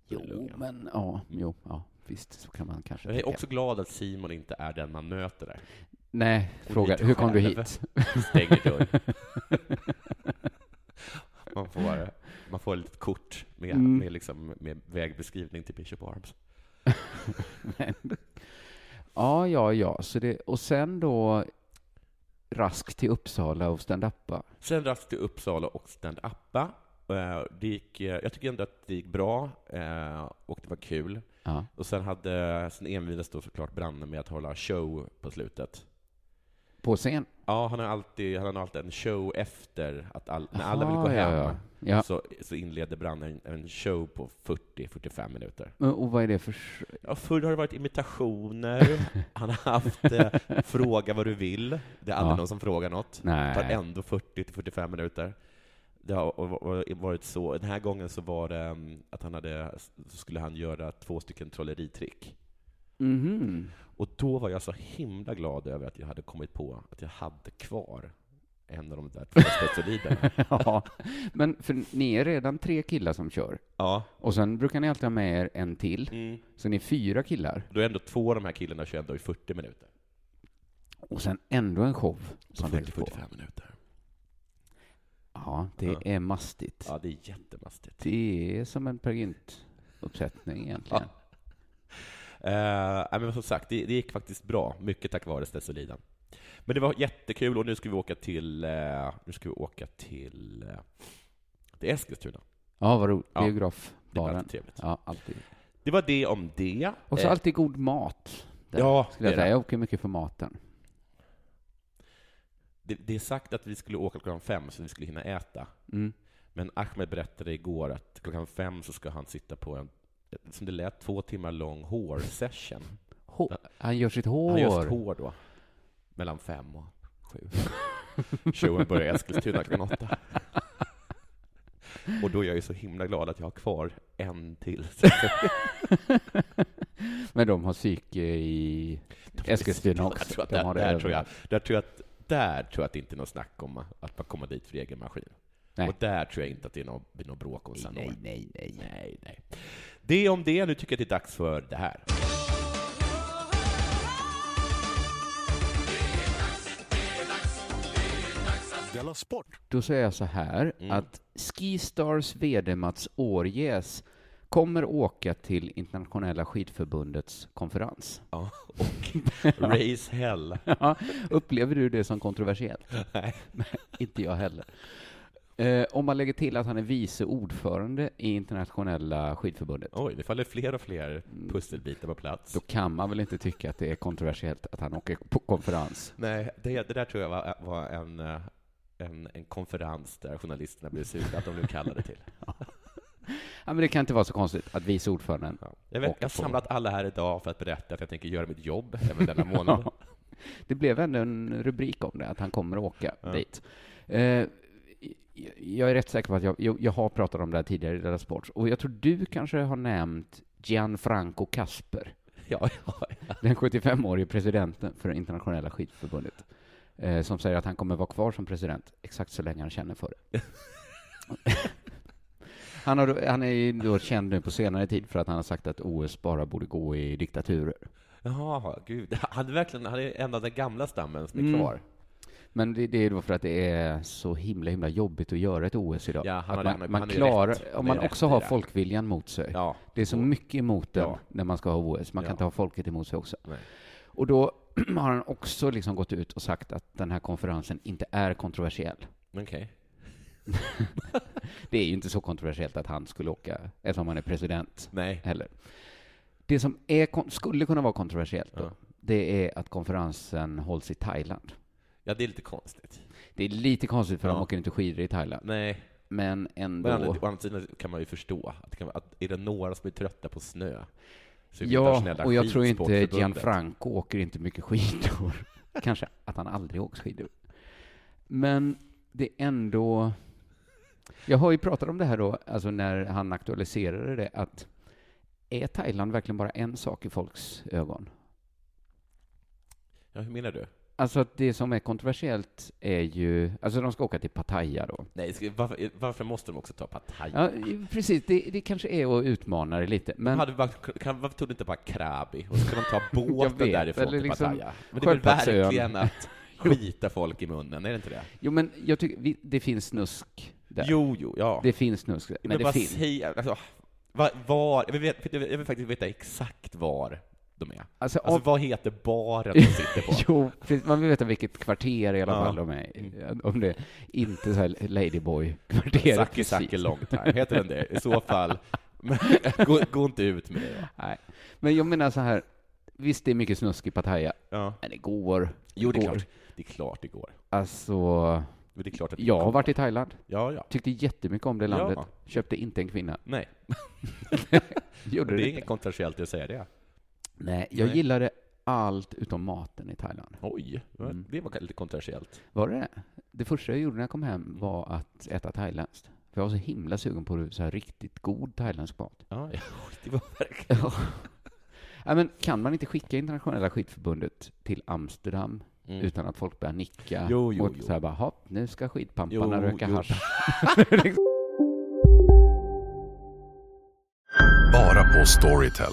[SPEAKER 5] Jo, men ja. Jo, ja. Visst, så kan man kanske
[SPEAKER 3] Jag är
[SPEAKER 5] tänka.
[SPEAKER 3] också glad att Simon inte är den man möter där.
[SPEAKER 5] Nej, fråga,
[SPEAKER 3] lite
[SPEAKER 5] hur kom du
[SPEAKER 3] själv.
[SPEAKER 5] hit?
[SPEAKER 3] Stänger dörren. [LAUGHS] Man får, man får ett litet kort med,
[SPEAKER 5] Mm.
[SPEAKER 3] med, liksom, med vägbeskrivning till Bishop Arms.
[SPEAKER 5] Ja, ja, ja. Så det, och sen då rask till Uppsala och stand-uppa.
[SPEAKER 3] Sen rast till Uppsala och stand-uppa. Eh, Det gick, eh, jag tycker ändå att det gick bra eh, och det var kul.
[SPEAKER 5] Ja.
[SPEAKER 3] Och sen, hade, sen envidades då såklart Branne med att hålla show på slutet.
[SPEAKER 5] På scen.
[SPEAKER 3] Ja, han har alltid, han har alltid en show efter att all, när alla vill gå
[SPEAKER 5] Aha,
[SPEAKER 3] hem.
[SPEAKER 5] Ja, ja.
[SPEAKER 3] Så, så inleder Branne en, en show på 40-45 minuter.
[SPEAKER 5] ja. Och vad är det för... s-
[SPEAKER 3] Ja, förr har det varit imitationer,
[SPEAKER 5] [LAUGHS]
[SPEAKER 3] han har haft eh, ”fråga vad du vill”, det är aldrig
[SPEAKER 5] Ja.
[SPEAKER 3] någon som frågar något. Det tar
[SPEAKER 5] Nej.
[SPEAKER 3] ändå 40-45 minuter. Det har och- och- och varit så. Den här gången så var det mm, att han hade, så skulle han göra två stycken trolleritrick.
[SPEAKER 5] Mhm. [LAUGHS]
[SPEAKER 3] Och då var jag så himla glad över att jag hade kommit på att jag hade kvar en av de där två [LAUGHS] spetsoliderna.
[SPEAKER 5] ja. Men för ni är redan tre killar som kör.
[SPEAKER 3] Ja.
[SPEAKER 5] Och sen brukar ni alltid ha med er en till.
[SPEAKER 3] Mm.
[SPEAKER 5] Så ni är fyra killar.
[SPEAKER 3] Då är ändå två av de här killarna kör ändå i 40 minuter.
[SPEAKER 5] Och sen ändå en show som läggs på.
[SPEAKER 3] 40-45 minuter.
[SPEAKER 5] Ja, det
[SPEAKER 3] Ja.
[SPEAKER 5] är mastigt.
[SPEAKER 3] Ja, det är jättemastigt.
[SPEAKER 5] Det är som en Peer Gynt-uppsättning egentligen.
[SPEAKER 3] Eh, nej, men som sagt, det, det gick faktiskt bra, mycket tack vare Stesoliden. Men det var jättekul och nu ska vi åka till, eh, nu ska vi åka till, eh, till Eskilstuna.
[SPEAKER 5] Ja, vad roligt.
[SPEAKER 3] Ja. Det var
[SPEAKER 5] Biografbaren.
[SPEAKER 3] alltid trevligt.
[SPEAKER 5] Ja, alltid.
[SPEAKER 3] Det var det om det.
[SPEAKER 5] Och så
[SPEAKER 3] Eh,
[SPEAKER 5] alltid god mat. där,
[SPEAKER 3] ja,
[SPEAKER 5] Skulle
[SPEAKER 3] det,
[SPEAKER 5] jag, säga.
[SPEAKER 3] är det.
[SPEAKER 5] jag åker mycket för maten.
[SPEAKER 3] Det, det är sagt att vi skulle åka klockan fem så vi skulle hinna äta.
[SPEAKER 5] Mm.
[SPEAKER 3] Men Ahmed berättade igår att klockan fem så ska han sitta på en, som det lät, två timmar lång hårsession.
[SPEAKER 5] Hår. Han gör sitt hår.
[SPEAKER 3] Han gör sitt hår då. Mellan fem och sju. [LAUGHS] Showen börjar i Eskilstuna klockan åtta. Och då är jag ju så himla glad att jag har kvar en till.
[SPEAKER 5] [LAUGHS]
[SPEAKER 3] [LAUGHS]
[SPEAKER 5] Men de har psyke i Eskilstuna också.
[SPEAKER 3] Jag tror att
[SPEAKER 5] de
[SPEAKER 3] där,
[SPEAKER 5] har det
[SPEAKER 3] där,
[SPEAKER 5] över.
[SPEAKER 3] tror jag, där tror jag att där tror jag att det inte är något snack om att man kommer dit för egen maskin.
[SPEAKER 5] Nej.
[SPEAKER 3] Och där tror jag inte att det är någon- blir något bråk om sen.
[SPEAKER 5] Nej, nej, nej.
[SPEAKER 3] nej, nej. Det om det. Nu tycker jag det är dags för det här.
[SPEAKER 6] Della Sport!
[SPEAKER 5] Då säger jag så här
[SPEAKER 3] Mm.
[SPEAKER 5] att Skistars VD Mats Årjes kommer åka till Internationella skidförbundets konferens.
[SPEAKER 3] Ja, och [LAUGHS] Race Hell.
[SPEAKER 5] [LAUGHS] Ja, Upplever du det som kontroversiellt?
[SPEAKER 3] Nej.
[SPEAKER 5] Inte jag heller. Eh, om man lägger till att han är vice ordförande i Internationella skidförbundet,
[SPEAKER 3] Oj, det faller fler och fler pusselbitar på plats.
[SPEAKER 5] då kan man väl inte tycka att det är kontroversiellt att han åker på konferens?
[SPEAKER 3] Nej, det, det där tror jag var, var en, eh, en, en konferens där journalisterna blev sura att de blev kallade till.
[SPEAKER 5] [LAUGHS] Ja, men det kan inte vara så konstigt att vice
[SPEAKER 3] [LAUGHS]
[SPEAKER 5] ordföranden
[SPEAKER 3] Ja. Jag, vet,
[SPEAKER 5] Och
[SPEAKER 3] jag har
[SPEAKER 5] på-
[SPEAKER 3] samlat alla här idag för att berätta att jag tänker göra mitt jobb även
[SPEAKER 5] [LAUGHS]
[SPEAKER 3] denna månad.
[SPEAKER 5] Det blev ändå en rubrik om det, att han kommer att åka dit. Eh, jag är rätt säker på att jag, jag, jag har pratat om det här tidigare i Della Sports, och jag tror du kanske har nämnt Gianfranco Casper,
[SPEAKER 3] Ja, ja,
[SPEAKER 5] den 75-årige presidenten för det internationella skidförbundet, eh, som säger att han kommer vara kvar som president exakt så länge han känner för det.
[SPEAKER 3] [LAUGHS]
[SPEAKER 5] Han, har, då- han är ju då känd nu på senare tid för att han har sagt att OS bara borde gå i diktaturer.
[SPEAKER 3] Jaha, gud. Han är verkligen han är en av den gamla stammen som är
[SPEAKER 5] Mm.
[SPEAKER 3] kvar.
[SPEAKER 5] Men det, det är då för att det är så himla himla jobbigt att göra ett OS idag.
[SPEAKER 3] Ja, han har-
[SPEAKER 5] att
[SPEAKER 3] han har-
[SPEAKER 5] man, man
[SPEAKER 3] han har ju rätt.
[SPEAKER 5] klarar,
[SPEAKER 3] Han
[SPEAKER 5] om
[SPEAKER 3] har
[SPEAKER 5] man
[SPEAKER 3] ju
[SPEAKER 5] också
[SPEAKER 3] rätt i
[SPEAKER 5] har
[SPEAKER 3] det.
[SPEAKER 5] folkviljan mot sig.
[SPEAKER 3] Ja.
[SPEAKER 5] Det är så mycket emot den
[SPEAKER 3] Ja.
[SPEAKER 5] när man ska ha OS. Man
[SPEAKER 3] Ja.
[SPEAKER 5] kan inte ha folket emot sig också.
[SPEAKER 3] Nej.
[SPEAKER 5] Och då [CLEARS THROAT] har han också liksom gått ut och sagt att den här konferensen inte är kontroversiell.
[SPEAKER 3] Okej.
[SPEAKER 5] Det är ju inte så kontroversiellt att han skulle åka eftersom han är president
[SPEAKER 3] Nej.
[SPEAKER 5] heller. Det som är, kon- skulle kunna vara kontroversiellt då,
[SPEAKER 3] Ja.
[SPEAKER 5] det är att konferensen hålls i Thailand.
[SPEAKER 3] Ja, det är lite konstigt.
[SPEAKER 5] Det är lite konstigt för
[SPEAKER 3] Ja.
[SPEAKER 5] de åker inte skidor i Thailand.
[SPEAKER 3] Nej.
[SPEAKER 5] Men ändå.
[SPEAKER 3] Men å andra- å andra sidan kan man ju förstå att, det kan, vara- att är det några som är trötta på snö så är det
[SPEAKER 5] Ja,
[SPEAKER 3] typ internationella
[SPEAKER 5] och jag tror inte
[SPEAKER 3] skidsportförbundet.
[SPEAKER 5] Gianfranco åker inte mycket skidor. [LAUGHS] Kanske att han aldrig åkt skidor. Men det är ändå... Jag har ju pratat om det här då, alltså när han aktualiserade det, att är Thailand verkligen bara en sak i folks ögon?
[SPEAKER 3] Ja, hur menar du?
[SPEAKER 5] Alltså att det som är kontroversiellt är ju... Alltså de ska åka till Pattaya då.
[SPEAKER 3] Nej, ska- varför, varför måste de också ta Pattaya?
[SPEAKER 5] Ja, precis. Det, det kanske är att utmana det lite. Men
[SPEAKER 3] Hade vi bara, kan, varför tog du inte bara Krabi och så kan man
[SPEAKER 5] [LAUGHS]
[SPEAKER 3] ta båten
[SPEAKER 5] vet,
[SPEAKER 3] därifrån
[SPEAKER 5] eller
[SPEAKER 3] till
[SPEAKER 5] liksom
[SPEAKER 3] Pattaya? Men det är väl
[SPEAKER 5] Sköldpaddsön. [LAUGHS]
[SPEAKER 3] verkligen att skita folk i munnen, är det inte det?
[SPEAKER 5] Jo, men jag tycker vi, det finns snusk där.
[SPEAKER 3] Jo, jo, ja.
[SPEAKER 5] Det finns snusk där.
[SPEAKER 3] men
[SPEAKER 5] Men det
[SPEAKER 3] bara
[SPEAKER 5] finns.
[SPEAKER 3] säg, alltså, var, var jag, vill, veta- jag vill- jag vill faktiskt veta exakt var de är.
[SPEAKER 5] Alltså,
[SPEAKER 3] Alltså,
[SPEAKER 5] av-
[SPEAKER 3] vad heter baren de sitter
[SPEAKER 5] [LAUGHS]
[SPEAKER 3] på?
[SPEAKER 5] Jo, precis. man vill veta vilket kvarter i alla
[SPEAKER 3] Ja.
[SPEAKER 5] fall
[SPEAKER 3] Mm.
[SPEAKER 5] de är i. Om det inte så här Ladyboy-kvarteret.
[SPEAKER 3] Saki Saki long time, heter den det? I så fall, [LAUGHS] men, gå, gå inte ut med det.
[SPEAKER 5] Nej. Men jag menar så här, visst det är mycket snusk i Pattaya,
[SPEAKER 3] Ja.
[SPEAKER 5] men det går.
[SPEAKER 3] Jo, det är
[SPEAKER 5] går.
[SPEAKER 3] klart. Det är klart det går.
[SPEAKER 5] Alltså,
[SPEAKER 3] Men Det är klart att det
[SPEAKER 5] jag har
[SPEAKER 3] går.
[SPEAKER 5] varit i Thailand,
[SPEAKER 3] Ja, ja.
[SPEAKER 5] tyckte jättemycket om det
[SPEAKER 3] Ja.
[SPEAKER 5] landet, köpte inte en kvinna.
[SPEAKER 3] Nej,
[SPEAKER 5] Gjorde
[SPEAKER 3] det
[SPEAKER 5] det
[SPEAKER 3] är
[SPEAKER 5] inte.
[SPEAKER 3] inget kontroversiellt i att säga det.
[SPEAKER 5] Nej, jag
[SPEAKER 3] Nej.
[SPEAKER 5] gillade allt utom maten i Thailand.
[SPEAKER 3] Oj, Mm. det var lite kontroversiellt.
[SPEAKER 5] Var det det? Det första jag gjorde när jag kom hem var att äta thailändskt. För jag var så himla sugen på så här riktigt god thailändsk mat.
[SPEAKER 3] Ja, ja. [LAUGHS] Det var verkligen...
[SPEAKER 5] Ja. Nej, men kan man inte skicka internationella skidförbundet till Amsterdam
[SPEAKER 3] Mm.
[SPEAKER 5] utan att folk börjar nicka?
[SPEAKER 3] Jo, jo,
[SPEAKER 5] och
[SPEAKER 3] jo.
[SPEAKER 5] så här bara, hopp, nu ska skidpamparna
[SPEAKER 3] Jo,
[SPEAKER 5] röka
[SPEAKER 3] jo.
[SPEAKER 5] hasch. [LAUGHS]
[SPEAKER 6] Bara på Storytel.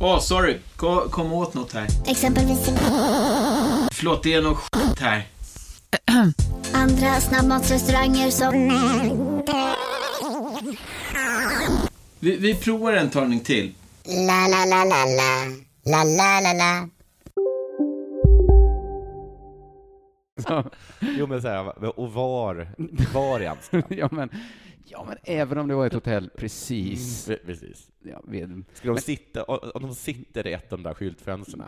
[SPEAKER 7] Åh, sorry. Kom, kom åt något här.
[SPEAKER 8] Exempelvis...
[SPEAKER 7] Förlåt, det är något skit här.
[SPEAKER 8] Andra snabbmatsrestauranger som...
[SPEAKER 7] Vi, vi provar en talning till.
[SPEAKER 8] La, la, la, la, la. La, la, la, la.
[SPEAKER 5] Så,
[SPEAKER 3] Jo, men så här, och var, var
[SPEAKER 5] [LAUGHS]
[SPEAKER 3] i Amsterdam?
[SPEAKER 5] ja, men, ja, men även om det var ett hotell Mm. precis...
[SPEAKER 3] Pre- [LAUGHS] Precis.
[SPEAKER 5] Ja, vid, [LAUGHS]
[SPEAKER 3] Ska de sitta, om de sitter i ett av de där skyltfönstren?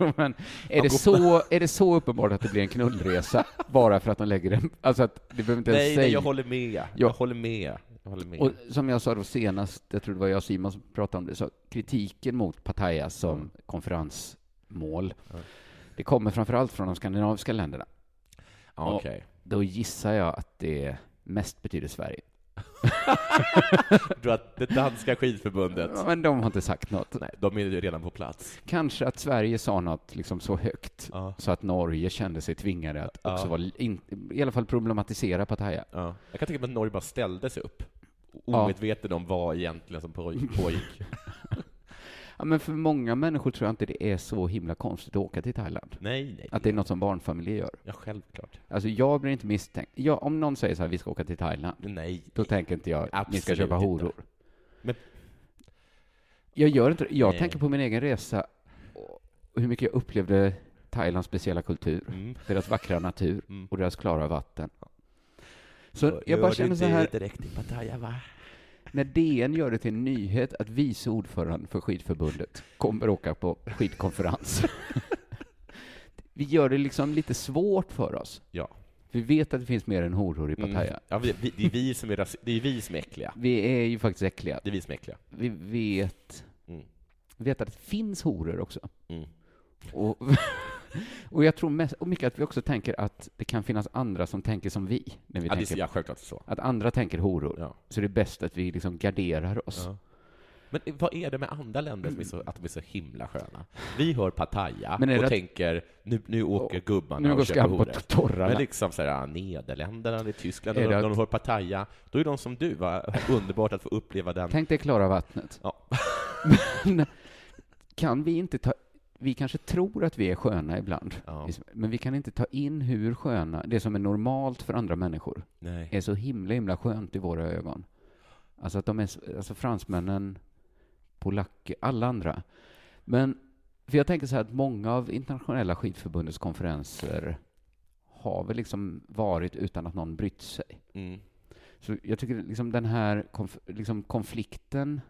[SPEAKER 5] Jo, men är, det så, är det så uppenbart att det blir en knullresa bara för att de lägger en... Alltså, att det behöver inte ens
[SPEAKER 3] Nej,
[SPEAKER 5] säga.
[SPEAKER 3] nej, jag håller med. Jag,
[SPEAKER 5] Ja.
[SPEAKER 3] håller med. Jag håller med.
[SPEAKER 5] Och som jag sa då senast, jag tror det var jag och Simon som pratade om det, så kritiken mot Pattaya som konferensmål, det kommer framför allt från de skandinaviska länderna.
[SPEAKER 3] ja, okej.
[SPEAKER 5] Då gissar jag att det mest betyder Sverige.
[SPEAKER 3] Jag tror att det danska skidförbundet,
[SPEAKER 5] Men de har inte sagt något.
[SPEAKER 3] nej, de är ju redan på plats.
[SPEAKER 5] Kanske att Sverige sa något liksom så högt
[SPEAKER 3] Ja.
[SPEAKER 5] så att Norge kände sig tvingade att också
[SPEAKER 3] Ja.
[SPEAKER 5] vara, in, i alla fall problematisera Pattaya.
[SPEAKER 3] Ja. Jag kan tänka mig att Norge bara ställde sig upp, omedveten om vad egentligen som
[SPEAKER 5] [LAUGHS]
[SPEAKER 3] pågick. pågick.
[SPEAKER 5] Ja, men för många människor tror jag inte det är så himla konstigt att åka till Thailand.
[SPEAKER 3] Nej, nej.
[SPEAKER 5] Att det är något som barnfamiljer gör.
[SPEAKER 3] Ja, självklart.
[SPEAKER 5] Alltså jag blir inte misstänkt. Ja, om någon säger så här, vi ska åka till Thailand,
[SPEAKER 3] Nej.
[SPEAKER 5] då tänker inte jag att ni ska
[SPEAKER 3] Absolut
[SPEAKER 5] köpa
[SPEAKER 3] inte.
[SPEAKER 5] horor.
[SPEAKER 3] Men-
[SPEAKER 5] Jag gör inte det. Jag
[SPEAKER 3] Nej.
[SPEAKER 5] tänker på min egen resa och hur mycket jag upplevde Thailands speciella kultur,
[SPEAKER 3] Mm.
[SPEAKER 5] deras vackra natur
[SPEAKER 3] Mm.
[SPEAKER 5] och deras klara vatten. Så jag bara känner så här,
[SPEAKER 3] direkt i Pattaya, va?
[SPEAKER 5] när DN gör det till en nyhet att vice ordföranden för skidförbundet kommer åka på
[SPEAKER 3] [LAUGHS]
[SPEAKER 5] skidkonferens. Vi gör det liksom lite svårt för oss.
[SPEAKER 3] Ja.
[SPEAKER 5] Vi vet att det finns mer än horor i Pattaya.
[SPEAKER 3] Mm. Ja, vi, vi, det, är vi som är rasi- det är vi som är äckliga.
[SPEAKER 5] Vi är ju faktiskt äckliga.
[SPEAKER 3] Det är vi som är äckliga.
[SPEAKER 5] Vi vet,
[SPEAKER 3] Mm.
[SPEAKER 5] vi vet att det finns horor också.
[SPEAKER 3] Mm.
[SPEAKER 5] Och, [LAUGHS] och jag tror mest, och mycket att vi också tänker att det kan finnas andra som tänker som vi. När vi
[SPEAKER 3] Ja, det
[SPEAKER 5] tänker,
[SPEAKER 3] är ja, självklart så.
[SPEAKER 5] Att andra tänker horor.
[SPEAKER 3] Ja.
[SPEAKER 5] Så det är bäst att vi liksom garderar oss.
[SPEAKER 3] Ja. Men vad är det med andra länder som är så, att de är så himla sköna? Vi hör Pattaya
[SPEAKER 5] Mm. Men är
[SPEAKER 3] och
[SPEAKER 5] det att-
[SPEAKER 3] tänker nu, nu åker
[SPEAKER 5] Åh,
[SPEAKER 3] gubbarna
[SPEAKER 5] nu går
[SPEAKER 3] och köper
[SPEAKER 5] skam på
[SPEAKER 3] horor.
[SPEAKER 5] torrarna.
[SPEAKER 3] Men liksom så här, Nederländerna eller Tyskland,
[SPEAKER 5] Är
[SPEAKER 3] när
[SPEAKER 5] det
[SPEAKER 3] de,
[SPEAKER 5] att-
[SPEAKER 3] de hör Pattaya, då är de som du, va? [LAUGHS] Underbart att få uppleva den.
[SPEAKER 5] Tänk dig klara vattnet.
[SPEAKER 3] Ja.
[SPEAKER 5] [LAUGHS] Men kan vi inte ta... Vi kanske tror att vi är sköna ibland,
[SPEAKER 3] Ja.
[SPEAKER 5] men vi kan inte ta in hur sköna, det som är normalt för andra människor,
[SPEAKER 3] Nej.
[SPEAKER 5] är så himla, himla skönt i våra ögon. Alltså att de är, s- alltså fransmännen, polacker, alla andra. Men, för jag tänker så här att många av internationella skidförbundets konferenser har väl liksom varit utan att någon brytt sig.
[SPEAKER 3] Mm.
[SPEAKER 5] Så jag tycker liksom den här konf liksom konflikten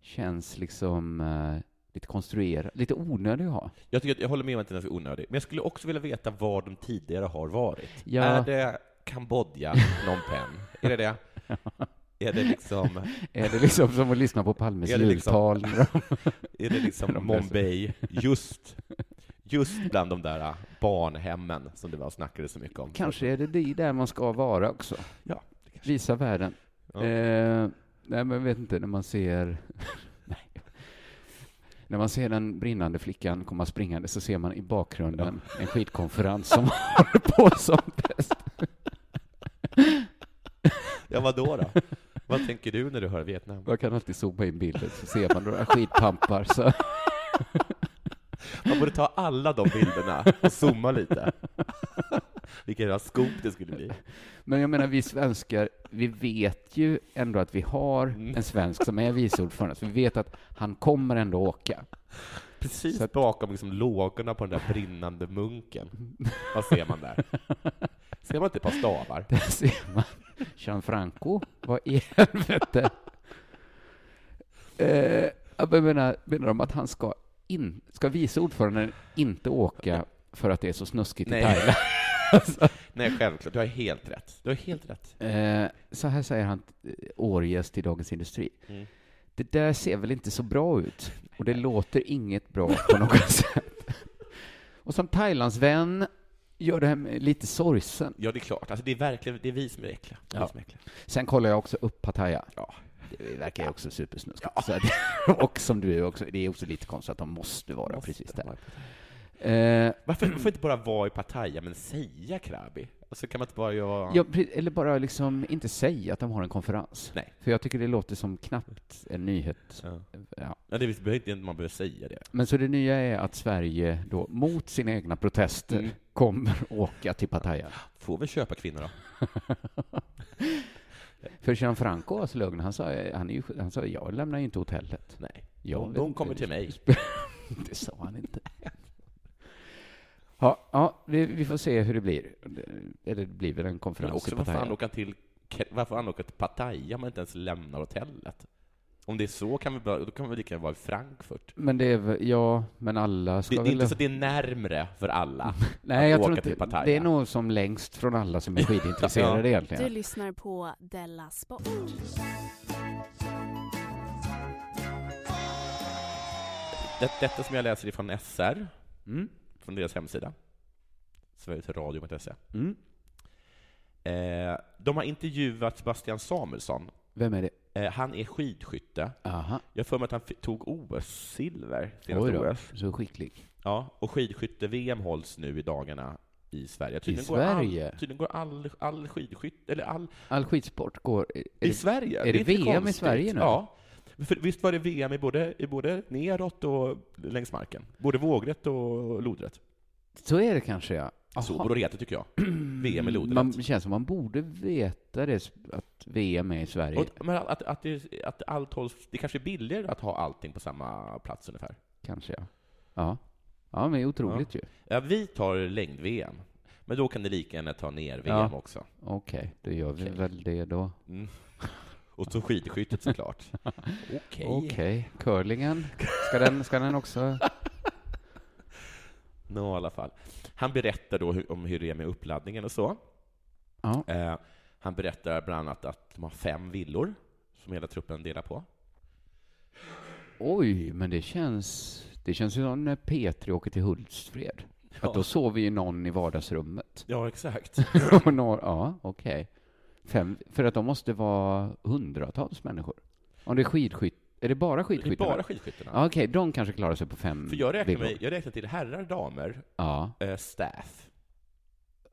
[SPEAKER 5] känns liksom eh, lite konstruerad, lite onödig att ha.
[SPEAKER 3] Jag, tycker att, jag håller med om att den är så onödig, men jag skulle också vilja veta var de tidigare har varit.
[SPEAKER 5] Ja.
[SPEAKER 3] Är det Kambodja, Phnom Penh? Är det det? Är det liksom,
[SPEAKER 5] Är det liksom som att lyssna på Palmes
[SPEAKER 3] Är det liksom-
[SPEAKER 5] jultal?
[SPEAKER 3] är det liksom
[SPEAKER 5] De är så-
[SPEAKER 3] Mumbai, just, just bland de där äh, barnhemmen som du var och snackade så mycket om?
[SPEAKER 5] Kanske är det det där man ska vara också.
[SPEAKER 3] Ja,
[SPEAKER 5] Visa världen.
[SPEAKER 3] Ja.
[SPEAKER 5] Eh, nej, men jag vet inte, när man ser... [LAUGHS] nej. När man ser den brinnande flickan komma springande så ser man i bakgrunden en skidkonferens som [LAUGHS] håller på som bäst.
[SPEAKER 3] Ja, vad då? då? vad tänker du när du hör Vietnam?
[SPEAKER 5] Man kan alltid zooma in bilden så ser man några skidpampar. Så.
[SPEAKER 3] Man borde ta alla de bilderna och zooma lite. Vilken jävla scoop det skulle bli.
[SPEAKER 5] Men jag menar, vi svenskar, vi vet ju ändå att vi har
[SPEAKER 3] Mm.
[SPEAKER 5] en svensk som är vice ordförande, så vi vet att han kommer ändå åka.
[SPEAKER 3] Precis bakom liksom lågorna på den där brinnande munken. Vad ser man där? Ser man inte ett par stavar?
[SPEAKER 5] [LAUGHS] Där ser man Gianfranco, vad i helvete? Eh, jag menar, menar de att han ska, in, ska vice ordföranden inte åka för att det är så snuskigt i
[SPEAKER 3] Nej. [LAUGHS] Alltså.
[SPEAKER 5] Thailand?
[SPEAKER 3] Nej, självklart. Du har helt rätt. Du har helt rätt.
[SPEAKER 5] Eh, så här säger han, eh, Årjes till Dagens Industri. Det där ser väl inte så bra ut och det låter inget bra på något [LAUGHS] sätt. Och som Thailandsvän gör det här med lite sorgsen.
[SPEAKER 3] Ja, det är klart. Alltså, det är verkligen det är vi som är äckliga. Det är
[SPEAKER 5] Ja.
[SPEAKER 3] vi som är äckliga.
[SPEAKER 5] Sen kollar jag också upp Pattaya.
[SPEAKER 3] Ja.
[SPEAKER 5] Det verkar ju också supersnuskigt. Så att- [LAUGHS] Och som du är också, det är också lite konstigt att de måste vara
[SPEAKER 3] Måste
[SPEAKER 5] precis där.
[SPEAKER 3] vara
[SPEAKER 5] Eh,
[SPEAKER 3] Varför, varför inte bara vara i Pattaya, men säga krabi? Och så kan man inte bara göra...
[SPEAKER 5] ja, pre- eller bara liksom inte säga att de har en konferens.
[SPEAKER 3] Nej.
[SPEAKER 5] För jag tycker det låter som knappt en nyhet.
[SPEAKER 3] Ja.
[SPEAKER 5] Ja.
[SPEAKER 3] Ja, det behöver inte man behöver säga det.
[SPEAKER 5] Men så det nya är att Sverige då mot sina egna protester
[SPEAKER 3] Mm.
[SPEAKER 5] kommer åka till Pattaya.
[SPEAKER 3] Får vi köpa kvinnor då?
[SPEAKER 5] För Gianfranco var så lugn. Han sa, han, är ju, han sa jag lämnar ju inte hotellet.
[SPEAKER 3] Nej.
[SPEAKER 5] Jag
[SPEAKER 3] De-
[SPEAKER 5] vet
[SPEAKER 3] de
[SPEAKER 5] inte.
[SPEAKER 3] kommer till mig.
[SPEAKER 5] det sa han inte. Ja, ja, vi, vi får se hur det blir. Eller det blir väl en
[SPEAKER 3] Men
[SPEAKER 5] konferens
[SPEAKER 3] också
[SPEAKER 5] i
[SPEAKER 3] varför
[SPEAKER 5] Pattaya.
[SPEAKER 3] han åka till, varför han åka till Pattaya om man inte ens lämnar hotellet? Om det är så kan vi bara, då kan vi lika gärna vara i Frankfurt.
[SPEAKER 5] Men det är väl- ja, men alla
[SPEAKER 3] Det,
[SPEAKER 5] ska
[SPEAKER 3] det är
[SPEAKER 5] väl...
[SPEAKER 3] inte så att det är närmre för alla.
[SPEAKER 5] Nej, jag
[SPEAKER 3] åka
[SPEAKER 5] tror
[SPEAKER 3] till
[SPEAKER 5] inte...
[SPEAKER 3] Pattaya.
[SPEAKER 5] Det är nog som längst från alla som är
[SPEAKER 3] [LAUGHS]
[SPEAKER 5] skidintresserade egentligen.
[SPEAKER 9] Du lyssnar på Della Sport.
[SPEAKER 3] Det, detta som jag läser ifrån SR,
[SPEAKER 5] Mm.
[SPEAKER 3] från deras hemsida, sverigesradio.se.
[SPEAKER 5] Mm.
[SPEAKER 3] E. Eh, de har intervjuat Sebastian Samuelsson.
[SPEAKER 5] Vem är det?
[SPEAKER 3] Eh, han är skidskytte.
[SPEAKER 5] Aha.
[SPEAKER 3] Jag har för mig att han fi- tog OS-silver
[SPEAKER 5] Oj
[SPEAKER 3] senaste
[SPEAKER 5] då,
[SPEAKER 3] OS.
[SPEAKER 5] så skicklig.
[SPEAKER 3] Ja, och skidskytte-VM hålls nu i dagarna i Sverige. Tydligen Går
[SPEAKER 5] Sverige?
[SPEAKER 3] all, tydligen går all, all skidskytte, eller all...
[SPEAKER 5] All skidsport går... är-
[SPEAKER 3] I
[SPEAKER 5] är-
[SPEAKER 3] Sverige?
[SPEAKER 5] är det
[SPEAKER 3] inte
[SPEAKER 5] VM i
[SPEAKER 3] konstigt.
[SPEAKER 5] Sverige nu?
[SPEAKER 3] Ja. För visst var det VM i både, i både neråt och längs marken? Både vågrätt och lodrätt.
[SPEAKER 5] Så är det kanske, ja. Aha. [CLEARS THROAT]
[SPEAKER 3] Så borde det heta, tycker jag. VM i lodrätt.
[SPEAKER 5] Man det känns som man borde veta det, att VM är i Sverige.
[SPEAKER 3] Och, men att, att, det, att allt hålls, det kanske är billigare att ha allting på samma plats ungefär.
[SPEAKER 5] Kanske, ja. Ja, ja men det är otroligt ju.
[SPEAKER 3] Ja, vi tar längd-VM, men då kan ni lika gärna ta ner VM
[SPEAKER 5] Ja.
[SPEAKER 3] också.
[SPEAKER 5] Okej, då gör vi
[SPEAKER 3] Okej.
[SPEAKER 5] väl det då.
[SPEAKER 3] Mm. Och så skidskyttet såklart.
[SPEAKER 5] [LAUGHS]
[SPEAKER 3] Okej.
[SPEAKER 5] Okej, curlingen. Ska den, ska den
[SPEAKER 3] [LAUGHS]
[SPEAKER 5] också...
[SPEAKER 3] Nå, i alla fall. Han berättar då hur, om hur det är med uppladdningen och så.
[SPEAKER 5] Ja.
[SPEAKER 3] Eh, han berättar bland annat att de har fem villor som hela truppen delar på.
[SPEAKER 5] Oj, men det känns... Det känns ju som när P3 åker till Hultsfred. Att då sover ju någon i
[SPEAKER 3] [LAUGHS]
[SPEAKER 5] vardagsrummet.
[SPEAKER 3] Ja, exakt.
[SPEAKER 5] Och några, ja, okej. Fem, för att de måste vara hundratals människor. Om det är skidskytt... Är det bara
[SPEAKER 3] Det är
[SPEAKER 5] skidskyttar?
[SPEAKER 3] bara skidskyttarna.
[SPEAKER 5] Ja, okej, de kanske klarar sig på fem
[SPEAKER 3] För jag räknar,
[SPEAKER 5] villor.
[SPEAKER 3] med, jag räknar till herrar, damer,
[SPEAKER 5] Ja.
[SPEAKER 3] eh, staff.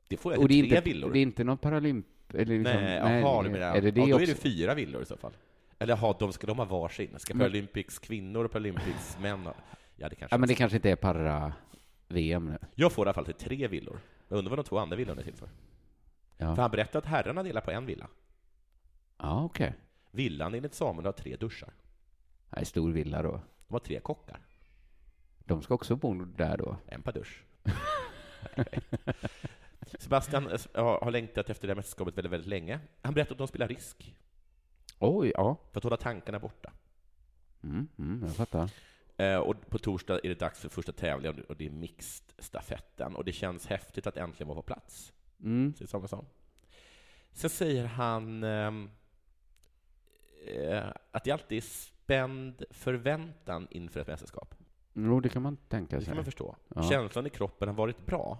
[SPEAKER 3] Det får jag
[SPEAKER 5] Och det är
[SPEAKER 3] till tre
[SPEAKER 5] inte,
[SPEAKER 3] villor.
[SPEAKER 5] det är inte någon paralymp... Eller liksom,
[SPEAKER 3] nej, jaha, du
[SPEAKER 5] är,
[SPEAKER 3] menar.
[SPEAKER 5] det det
[SPEAKER 3] ja, då är
[SPEAKER 5] också?
[SPEAKER 3] det fyra villor i så fall. Eller jaha, de ska de ha varsin? Ska
[SPEAKER 5] Men-
[SPEAKER 3] Paralympics kvinnor och Paralympics män ha- Ja, det kanske
[SPEAKER 5] Mm. Ja, men det
[SPEAKER 3] också-
[SPEAKER 5] kanske inte är para-VM nu.
[SPEAKER 3] Jag får i alla fall till tre villor. Jag undrar vad de två andra villorna är till för.
[SPEAKER 5] Ja,
[SPEAKER 3] För han berättade att herrarna delar på en villa.
[SPEAKER 5] ja okej.
[SPEAKER 3] Villan enligt Samuel har tre duschar.
[SPEAKER 5] Okay. Stor villa då.
[SPEAKER 3] De har tre kockar.
[SPEAKER 5] De ska också bo där då.
[SPEAKER 3] En per dusch. [LAUGHS] Sebastian eh, har har längtat efter det här mästerskapet väldigt, väldigt länge. Han berättade att de spelar risk
[SPEAKER 5] Oj, ja.
[SPEAKER 3] för att hålla tankarna borta.
[SPEAKER 5] Mm, mm, jag fattar.
[SPEAKER 3] Eh, Och på torsdag är det dags för första tävlingen och det är mixed-stafetten. Och det känns häftigt att äntligen vara på plats,
[SPEAKER 5] Mm.
[SPEAKER 3] säger Samuelsson. Sen säger han ehm, eh, att det alltid är spänd förväntan inför ett mästerskap.
[SPEAKER 5] Jo, det kan man tänka
[SPEAKER 3] Mm. Det kan
[SPEAKER 5] sig.
[SPEAKER 3] man förstå.
[SPEAKER 5] Ja.
[SPEAKER 3] Känslan i kroppen har varit bra.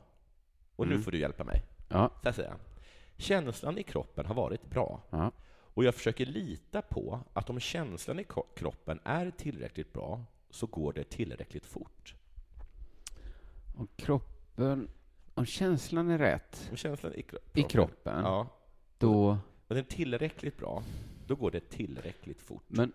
[SPEAKER 3] Och nu
[SPEAKER 5] Mm.
[SPEAKER 3] får du hjälpa mig.
[SPEAKER 5] Ja.
[SPEAKER 3] Så här säger han. Känslan i kroppen har varit bra.
[SPEAKER 5] Ja.
[SPEAKER 3] Och jag försöker lita på att om känslan i ko- kroppen är tillräckligt bra så går det tillräckligt fort.
[SPEAKER 5] Och kroppen... Om känslan är rätt
[SPEAKER 3] Om känslan i, kro-
[SPEAKER 5] i kroppen,
[SPEAKER 3] Ja.
[SPEAKER 5] då...
[SPEAKER 3] Om den är tillräckligt bra, då går det tillräckligt fort.
[SPEAKER 5] Men...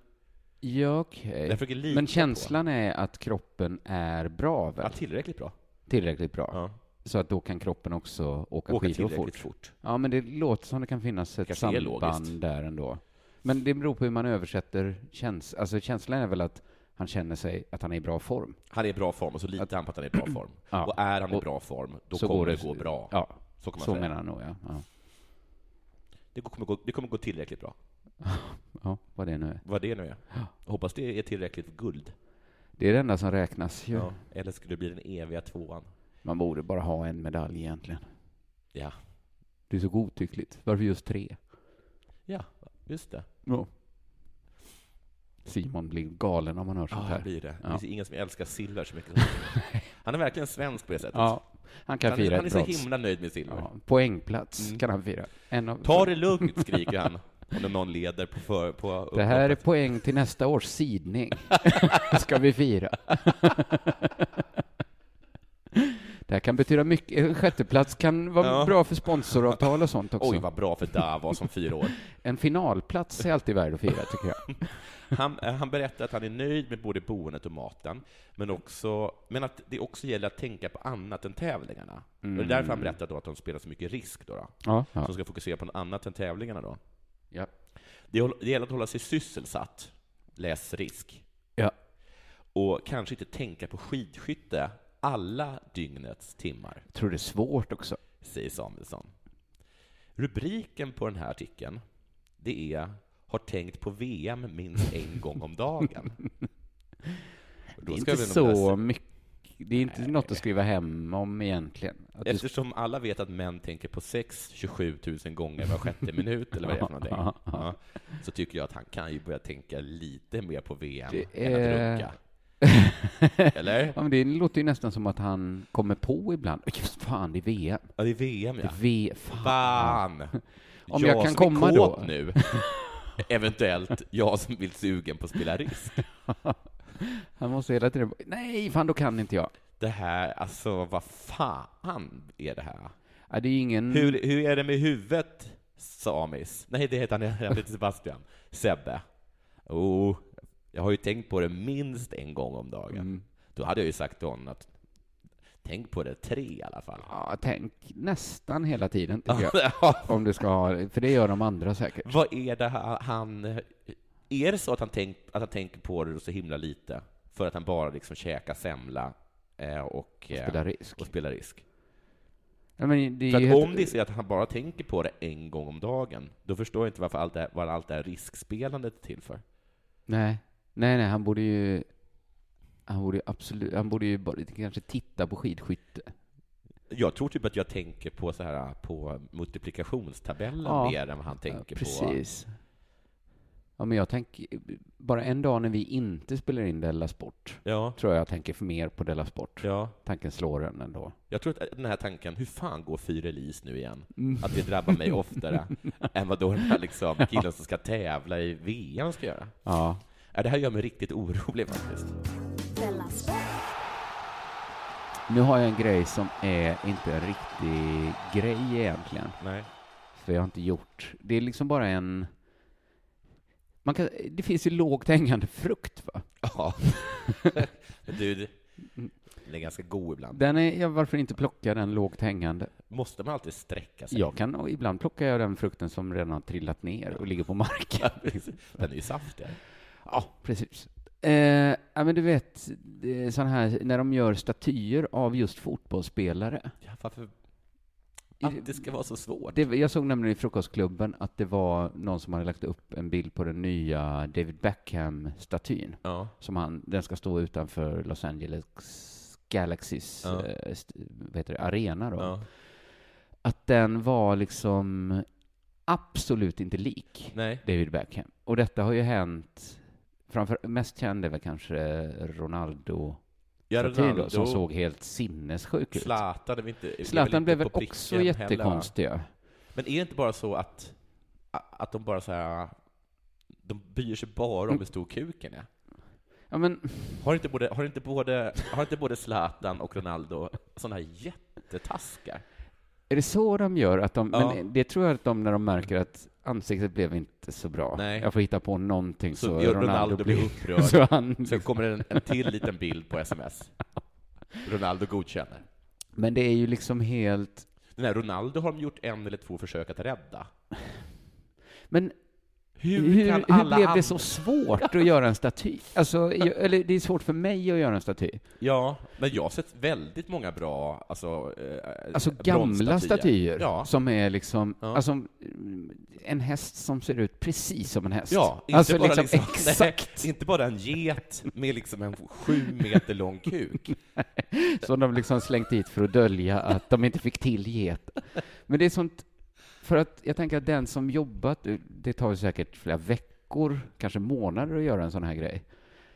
[SPEAKER 5] Ja, okej.
[SPEAKER 3] jag försöker lita
[SPEAKER 5] Men känslan är att kroppen är bra,
[SPEAKER 3] på...
[SPEAKER 5] väl?
[SPEAKER 3] Ja, tillräckligt bra.
[SPEAKER 5] Tillräckligt bra.
[SPEAKER 3] Ja.
[SPEAKER 5] Så att då kan kroppen också åka,
[SPEAKER 3] Åka
[SPEAKER 5] skidor
[SPEAKER 3] tillräckligt
[SPEAKER 5] fort.
[SPEAKER 3] fort.
[SPEAKER 5] Ja, men det låter som det kan finnas ett
[SPEAKER 3] Kanske det är
[SPEAKER 5] samband
[SPEAKER 3] logiskt.
[SPEAKER 5] där ändå. Men det beror på hur man översätter käns Alltså känslan är väl att han känner sig att han är i bra form.
[SPEAKER 3] Han är i bra form och så litar han på att han är i bra form.
[SPEAKER 5] [CLEARS THROAT] Ja.
[SPEAKER 3] Och är han i
[SPEAKER 5] Och-
[SPEAKER 3] bra form, då
[SPEAKER 5] så
[SPEAKER 3] kommer
[SPEAKER 5] går
[SPEAKER 3] det,
[SPEAKER 5] det-
[SPEAKER 3] gå bra.
[SPEAKER 5] Ja,
[SPEAKER 3] Så kan man
[SPEAKER 5] så
[SPEAKER 3] säga.
[SPEAKER 5] menar han nog, ja. ja.
[SPEAKER 3] Det, kommer gå, det kommer gå tillräckligt bra.
[SPEAKER 5] Ja, vad det nu är.
[SPEAKER 3] Vad det nu är. Hoppas det är tillräckligt guld.
[SPEAKER 5] Det är det enda som räknas ju.
[SPEAKER 3] Ja. Eller skulle det bli den eviga tvåan?
[SPEAKER 5] Man borde bara ha en medalj egentligen.
[SPEAKER 3] Ja.
[SPEAKER 5] Det är så godtyckligt. Varför just tre?
[SPEAKER 3] Ja, just det.
[SPEAKER 5] Ja. Simon blir galen om man hör
[SPEAKER 3] Ja,
[SPEAKER 5] sånt
[SPEAKER 3] det
[SPEAKER 5] här.
[SPEAKER 3] blir det.
[SPEAKER 5] Ja.
[SPEAKER 3] Det finns ingen som älskar silver så mycket
[SPEAKER 5] [LAUGHS]
[SPEAKER 3] som han. Han är verkligen svensk på det sättet.
[SPEAKER 5] Ja, han kan
[SPEAKER 3] han, är-
[SPEAKER 5] fira
[SPEAKER 3] han är
[SPEAKER 5] ett
[SPEAKER 3] så
[SPEAKER 5] brons.
[SPEAKER 3] himla nöjd med silver.
[SPEAKER 5] Ja, poängplats
[SPEAKER 3] Mm.
[SPEAKER 5] kan han fira. En av...
[SPEAKER 3] Ta det lugnt, skriker han. Om det är någon leder på, för, på
[SPEAKER 5] Det här är
[SPEAKER 3] upploppet.
[SPEAKER 5] poäng till nästa års
[SPEAKER 3] [LAUGHS]
[SPEAKER 5] sidning. Ska vi fira. Det här kan betyda mycket. Sjätteplats kan vara
[SPEAKER 3] Ja.
[SPEAKER 5] bra för sponsoravtal och sånt också.
[SPEAKER 3] Oj, vad bra för Davos som fyra år.
[SPEAKER 5] En finalplats är alltid värd att fira, tycker jag.
[SPEAKER 3] Han, eh, han berättar att han är nöjd med både boendet och maten, men, också, men att det också gäller att tänka på annat än tävlingarna. Och det är därför han berättar då att de spelar så mycket risk, då, då,
[SPEAKER 5] Ja, Mm. ja.
[SPEAKER 3] som ska fokusera på något annat än tävlingarna. Då.
[SPEAKER 5] ja.
[SPEAKER 3] Det, håll- det gäller att hålla sig sysselsatt, läs risk,
[SPEAKER 5] ja.
[SPEAKER 3] och kanske inte tänka på skidskytte alla dygnets timmar,
[SPEAKER 5] tror det är svårt också.
[SPEAKER 3] säger Samuelsson. Rubriken på den här artikeln, det är ”Har tänkt på VM minst en gång
[SPEAKER 5] [LAUGHS]
[SPEAKER 3] om dagen”. Och
[SPEAKER 5] Det
[SPEAKER 3] då
[SPEAKER 5] är
[SPEAKER 3] ska
[SPEAKER 5] inte
[SPEAKER 3] vi nog läsa-
[SPEAKER 5] så mycket. Det är inte något att skriva hem om egentligen. Att du-
[SPEAKER 3] Eftersom alla vet att män tänker på sex 27 000 gånger var sjätte minut, eller vad det är
[SPEAKER 5] [LAUGHS]
[SPEAKER 3] för någonting, ja, så tycker jag att han kan ju börja tänka lite mer på VM
[SPEAKER 5] Det
[SPEAKER 3] än
[SPEAKER 5] är-
[SPEAKER 3] att
[SPEAKER 5] [LAUGHS]
[SPEAKER 3] runka. Eller?
[SPEAKER 5] ja, men det låter ju nästan som att han kommer på ibland. Åh, Just fan, det är VM.
[SPEAKER 3] Ja, det är VM,
[SPEAKER 5] Det
[SPEAKER 3] ja.
[SPEAKER 5] är v- fan.
[SPEAKER 3] Fan!
[SPEAKER 5] Om jag kan
[SPEAKER 3] som är
[SPEAKER 5] komma
[SPEAKER 3] kåt
[SPEAKER 5] då.
[SPEAKER 3] nu. [LAUGHS] Eventuellt jag som vill sugen på att spela risk.
[SPEAKER 5] Han måste hela tiden nej, fan då kan inte jag.
[SPEAKER 3] Det här, alltså vad fan är det
[SPEAKER 5] Mm.
[SPEAKER 3] här?
[SPEAKER 5] Ja, det är ju ingen...
[SPEAKER 3] Hur, hur är det med huvudet, Samis? Nej, det heter han, han heter Sebastian. Sebbe. Oh, jag har ju tänkt på det minst en gång om dagen.
[SPEAKER 5] Mm.
[SPEAKER 3] Då hade jag ju sagt till honom att tänk på det tre i alla fall.
[SPEAKER 5] Ja, tänk nästan hela tiden, tycker jag.
[SPEAKER 3] [LAUGHS] Ja,
[SPEAKER 5] Om du ska ha, för det gör de andra säkert.
[SPEAKER 3] Vad är det här han... Är det så att han, tänk, att han tänker på det så himla lite för att han bara liksom käkar semla eh, och, eh,
[SPEAKER 5] Spela risk.
[SPEAKER 3] och spelar risk?
[SPEAKER 5] Ja, men det är
[SPEAKER 3] För
[SPEAKER 5] ju
[SPEAKER 3] att
[SPEAKER 5] helt-
[SPEAKER 3] om det är så att han bara tänker på det en gång om dagen, då förstår jag inte varför allt det här, vad allt det här riskspelandet är till för.
[SPEAKER 5] Nej, nej, nej, han borde ju... Han borde ju absolut, han borde ju bara, kanske titta på skidskytte.
[SPEAKER 3] Jag tror typ att jag tänker på, så här, på multiplikationstabellen
[SPEAKER 5] Ja.
[SPEAKER 3] mer än vad han tänker
[SPEAKER 5] ja,
[SPEAKER 3] på.
[SPEAKER 5] precis. Ja, men jag tänker, bara en dag när vi inte spelar in Della Sport,
[SPEAKER 3] Ja,
[SPEAKER 5] tror jag jag tänker mer på Della Sport.
[SPEAKER 3] ja.
[SPEAKER 5] Tanken slår en ändå.
[SPEAKER 3] Jag tror att den här tanken, hur fan går Fyrelis nu igen? Att det drabbar
[SPEAKER 5] [LAUGHS]
[SPEAKER 3] mig oftare än vad då den här liksom killen som ska tävla i VM ska göra.
[SPEAKER 5] Ja.
[SPEAKER 3] Ja, Det här gör mig riktigt orolig faktiskt.
[SPEAKER 9] Della Sport.
[SPEAKER 5] Nu har jag en grej som är inte en riktig grej egentligen,
[SPEAKER 3] Nej.
[SPEAKER 5] för jag har inte gjort. Det är liksom bara en... Man kan, det finns ju lågt hängande frukt, va?
[SPEAKER 3] Ja. [LAUGHS] Du, det- den är ganska god ibland.
[SPEAKER 5] Den är, ja, varför inte plocka den lågt hängande?
[SPEAKER 3] Måste man alltid sträcka sig?
[SPEAKER 5] Jag kan, och ibland plockar jag den frukten som redan har trillat ner och ligger på marken.
[SPEAKER 3] [LAUGHS] Den är ju saftig.
[SPEAKER 5] [LAUGHS] Ja, precis. Eh, ja, men du vet, det är sån här, när de gör statyer av just fotbollsspelare.
[SPEAKER 3] Ja, varför? Att det ska vara så svårt?
[SPEAKER 5] Det, jag såg nämligen i Frukostklubben att det var någon som hade lagt upp en bild på den nya David Beckham-statyn.
[SPEAKER 3] Ja.
[SPEAKER 5] Som han, den ska stå utanför Los Angeles Galaxys
[SPEAKER 3] Ja.
[SPEAKER 5] eh, st- vad heter det, arena. Då.
[SPEAKER 3] ja.
[SPEAKER 5] Att den var liksom absolut inte lik.
[SPEAKER 3] Nej.
[SPEAKER 5] David Beckham. Och detta har ju hänt, framför, mest känd är väl kanske Ronaldo,
[SPEAKER 3] Ja,
[SPEAKER 5] statyn då,
[SPEAKER 3] Ronaldo.
[SPEAKER 5] som såg helt sinnessjuk ut.
[SPEAKER 3] Zlatan är väl inte... är väl
[SPEAKER 5] Zlatan
[SPEAKER 3] inte
[SPEAKER 5] blev väl
[SPEAKER 3] på
[SPEAKER 5] också
[SPEAKER 3] pricken heller, va?
[SPEAKER 5] jättekonstig. ja.
[SPEAKER 3] Men är det inte bara så att, att de bara så här... De bryr sig bara om hur stor kuken är?
[SPEAKER 5] Ja, men
[SPEAKER 3] Har inte både, har inte både, har inte både Zlatan och Ronaldo sådana här jättetaskar?
[SPEAKER 5] är det så de gör? Att de,
[SPEAKER 3] Ja.
[SPEAKER 5] Men det tror jag att de, när de märker att ansiktet blev inte så bra,
[SPEAKER 3] Nej.
[SPEAKER 5] jag får hitta på någonting
[SPEAKER 3] Så
[SPEAKER 5] så,
[SPEAKER 3] gör Ronaldo blir upprörd.
[SPEAKER 5] så han,
[SPEAKER 3] Sen kommer det en, en till liten bild på sms. Ronaldo godkänner.
[SPEAKER 5] men det är ju liksom helt...
[SPEAKER 3] Den här Ronaldo har de gjort en eller två försök att rädda.
[SPEAKER 5] Men
[SPEAKER 3] Hur,
[SPEAKER 5] Hur, hur,
[SPEAKER 3] kan alla
[SPEAKER 5] blev
[SPEAKER 3] andra-
[SPEAKER 5] det så svårt att göra en staty? Alltså, jag, eller det är svårt för mig att göra en staty.
[SPEAKER 3] Ja, men jag har sett väldigt många bra, alltså... Eh,
[SPEAKER 5] Alltså gamla statyer
[SPEAKER 3] Ja.
[SPEAKER 5] som är liksom,
[SPEAKER 3] Ja.
[SPEAKER 5] alltså mm, en häst som ser ut precis som en häst.
[SPEAKER 3] Ja, inte
[SPEAKER 5] alltså
[SPEAKER 3] bara
[SPEAKER 5] liksom,
[SPEAKER 3] liksom,
[SPEAKER 5] [LAUGHS] exakt
[SPEAKER 3] Nej, inte bara en get med liksom en sju meter lång kuk.
[SPEAKER 5] som de liksom slängt dit för att dölja att de inte fick till get. Men det är sånt, för att jag tänker att den som jobbat, det tar ju säkert flera veckor, kanske månader att göra en sån här grej.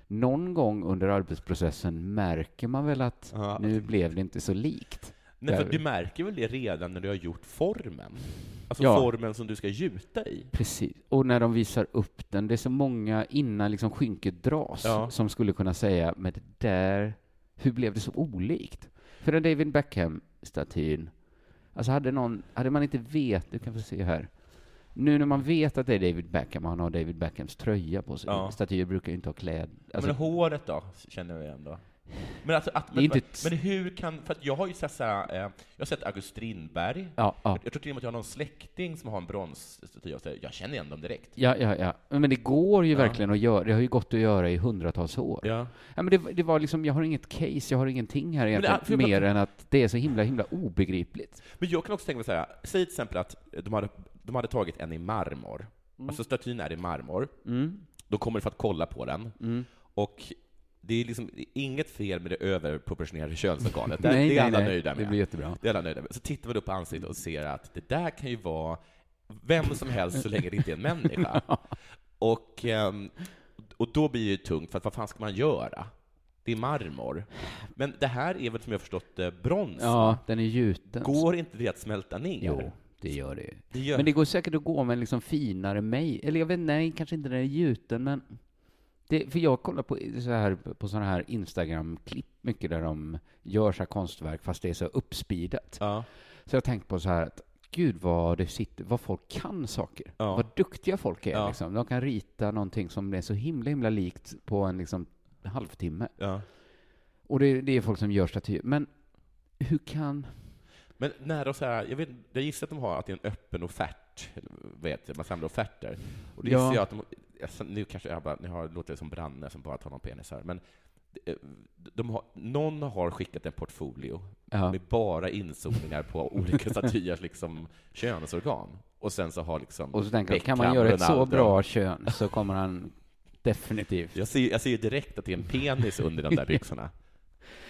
[SPEAKER 5] Någon gång under arbetsprocessen märker man väl att
[SPEAKER 3] Ja.
[SPEAKER 5] nu blev det inte så likt.
[SPEAKER 3] Nej, för
[SPEAKER 5] Där.
[SPEAKER 3] du märker väl det redan när du har gjort formen? Alltså
[SPEAKER 5] Ja.
[SPEAKER 3] formen som du ska gjuta i.
[SPEAKER 5] Precis. Och när de visar upp den, det är så många innan liksom skynket dras
[SPEAKER 3] Ja.
[SPEAKER 5] som skulle kunna säga, men det där, hur blev det så olikt? För den David Beckham-statyn, alltså hade, någon, hade man inte vet, du kan få se här, nu när man vet att det är David Beckham och han har David Beckhams tröja på sig,
[SPEAKER 3] Ja.
[SPEAKER 5] statyer brukar ju inte ha kläder. Alltså,
[SPEAKER 3] Men håret då, känner jag igen då? Men, alltså, att,
[SPEAKER 5] Det är
[SPEAKER 3] men,
[SPEAKER 5] inte
[SPEAKER 3] men,
[SPEAKER 5] ett-
[SPEAKER 3] hur kan, för att jag har ju sett, så här, eh, jag har sett August Strindberg,
[SPEAKER 5] Ja, ja.
[SPEAKER 3] jag tror till och med att jag har någon släkting som har en bronsstaty, och så här, jag känner igen dem direkt.
[SPEAKER 5] Ja, ja, ja. Men det går ju verkligen att göra. Det har ju gått att göra i hundratals år.
[SPEAKER 3] Ja.
[SPEAKER 5] Ja, men det, det var liksom, jag har inget case, jag har ingenting här egentligen,
[SPEAKER 3] för jag
[SPEAKER 5] mer
[SPEAKER 3] bara-
[SPEAKER 5] än att det är så himla, himla obegripligt.
[SPEAKER 3] Men jag kan också tänka mig så här, säg till exempel att de hade, de hade tagit en i marmor,
[SPEAKER 5] Mm.
[SPEAKER 3] alltså statyn är i marmor, de kommer för att kolla på den, och det är liksom inget fel med det överproportionerade könsorganet, det,
[SPEAKER 5] Nej,
[SPEAKER 3] det är
[SPEAKER 5] nej,
[SPEAKER 3] alla
[SPEAKER 5] nej.
[SPEAKER 3] nöjda
[SPEAKER 5] Det
[SPEAKER 3] med.
[SPEAKER 5] blir jättebra.
[SPEAKER 3] Det är alla nöjda med. Så tittar man upp på ansiktet och ser att det där kan ju vara vem som helst så länge det inte är
[SPEAKER 5] [LAUGHS]
[SPEAKER 3] en människa. Och, ehm, och då blir det ju tungt, för att vad fan ska man göra? Det är marmor. Men det här är väl som jag förstått det, brons?
[SPEAKER 5] Ja, den är gjuten.
[SPEAKER 3] Går inte det att smälta ner?
[SPEAKER 5] Jo, det gör det ju.
[SPEAKER 3] Det gör-
[SPEAKER 5] Men det går säkert att gå med en liksom finare mig. Eller jag vet nej, kanske inte den är gjuten, men... Det, för jag kollar på så här, på sådana här Instagram-klipp mycket där de gör så här konstverk fast det är så uppspidat.
[SPEAKER 3] Ja.
[SPEAKER 5] Så jag har tänkt på så här att gud vad det sitter, vad folk kan saker.
[SPEAKER 3] Ja.
[SPEAKER 5] Vad duktiga folk är
[SPEAKER 3] Ja.
[SPEAKER 5] liksom. De kan rita någonting som är så himla, himla likt på en liksom halvtimme.
[SPEAKER 3] ja.
[SPEAKER 5] Och det, det är folk som gör statyer. Men hur kan...
[SPEAKER 3] Men när de så här, jag, vet, jag gissar att de har att det är en öppen offert, eller vad heter det, man samlar offerter. Och det
[SPEAKER 5] Ja.
[SPEAKER 3] gissar jag att de, alltså, nu kanske jag bara, nu har, låter det som Branne som bara talar om penisar, men eh, de har, någon har skickat en portfolio
[SPEAKER 5] Ja.
[SPEAKER 3] med bara inzoomningar på olika [LAUGHS] statyers liksom, könsorgan. Och sen så har liksom
[SPEAKER 5] Och så tänker jag, kan man
[SPEAKER 3] Beckham,
[SPEAKER 5] göra ett så
[SPEAKER 3] Ronaldo-
[SPEAKER 5] bra kön så kommer han definitivt.
[SPEAKER 3] Jag ser, ju- jag ser ju direkt att det är en penis under de
[SPEAKER 5] [LAUGHS]
[SPEAKER 3] där byxorna.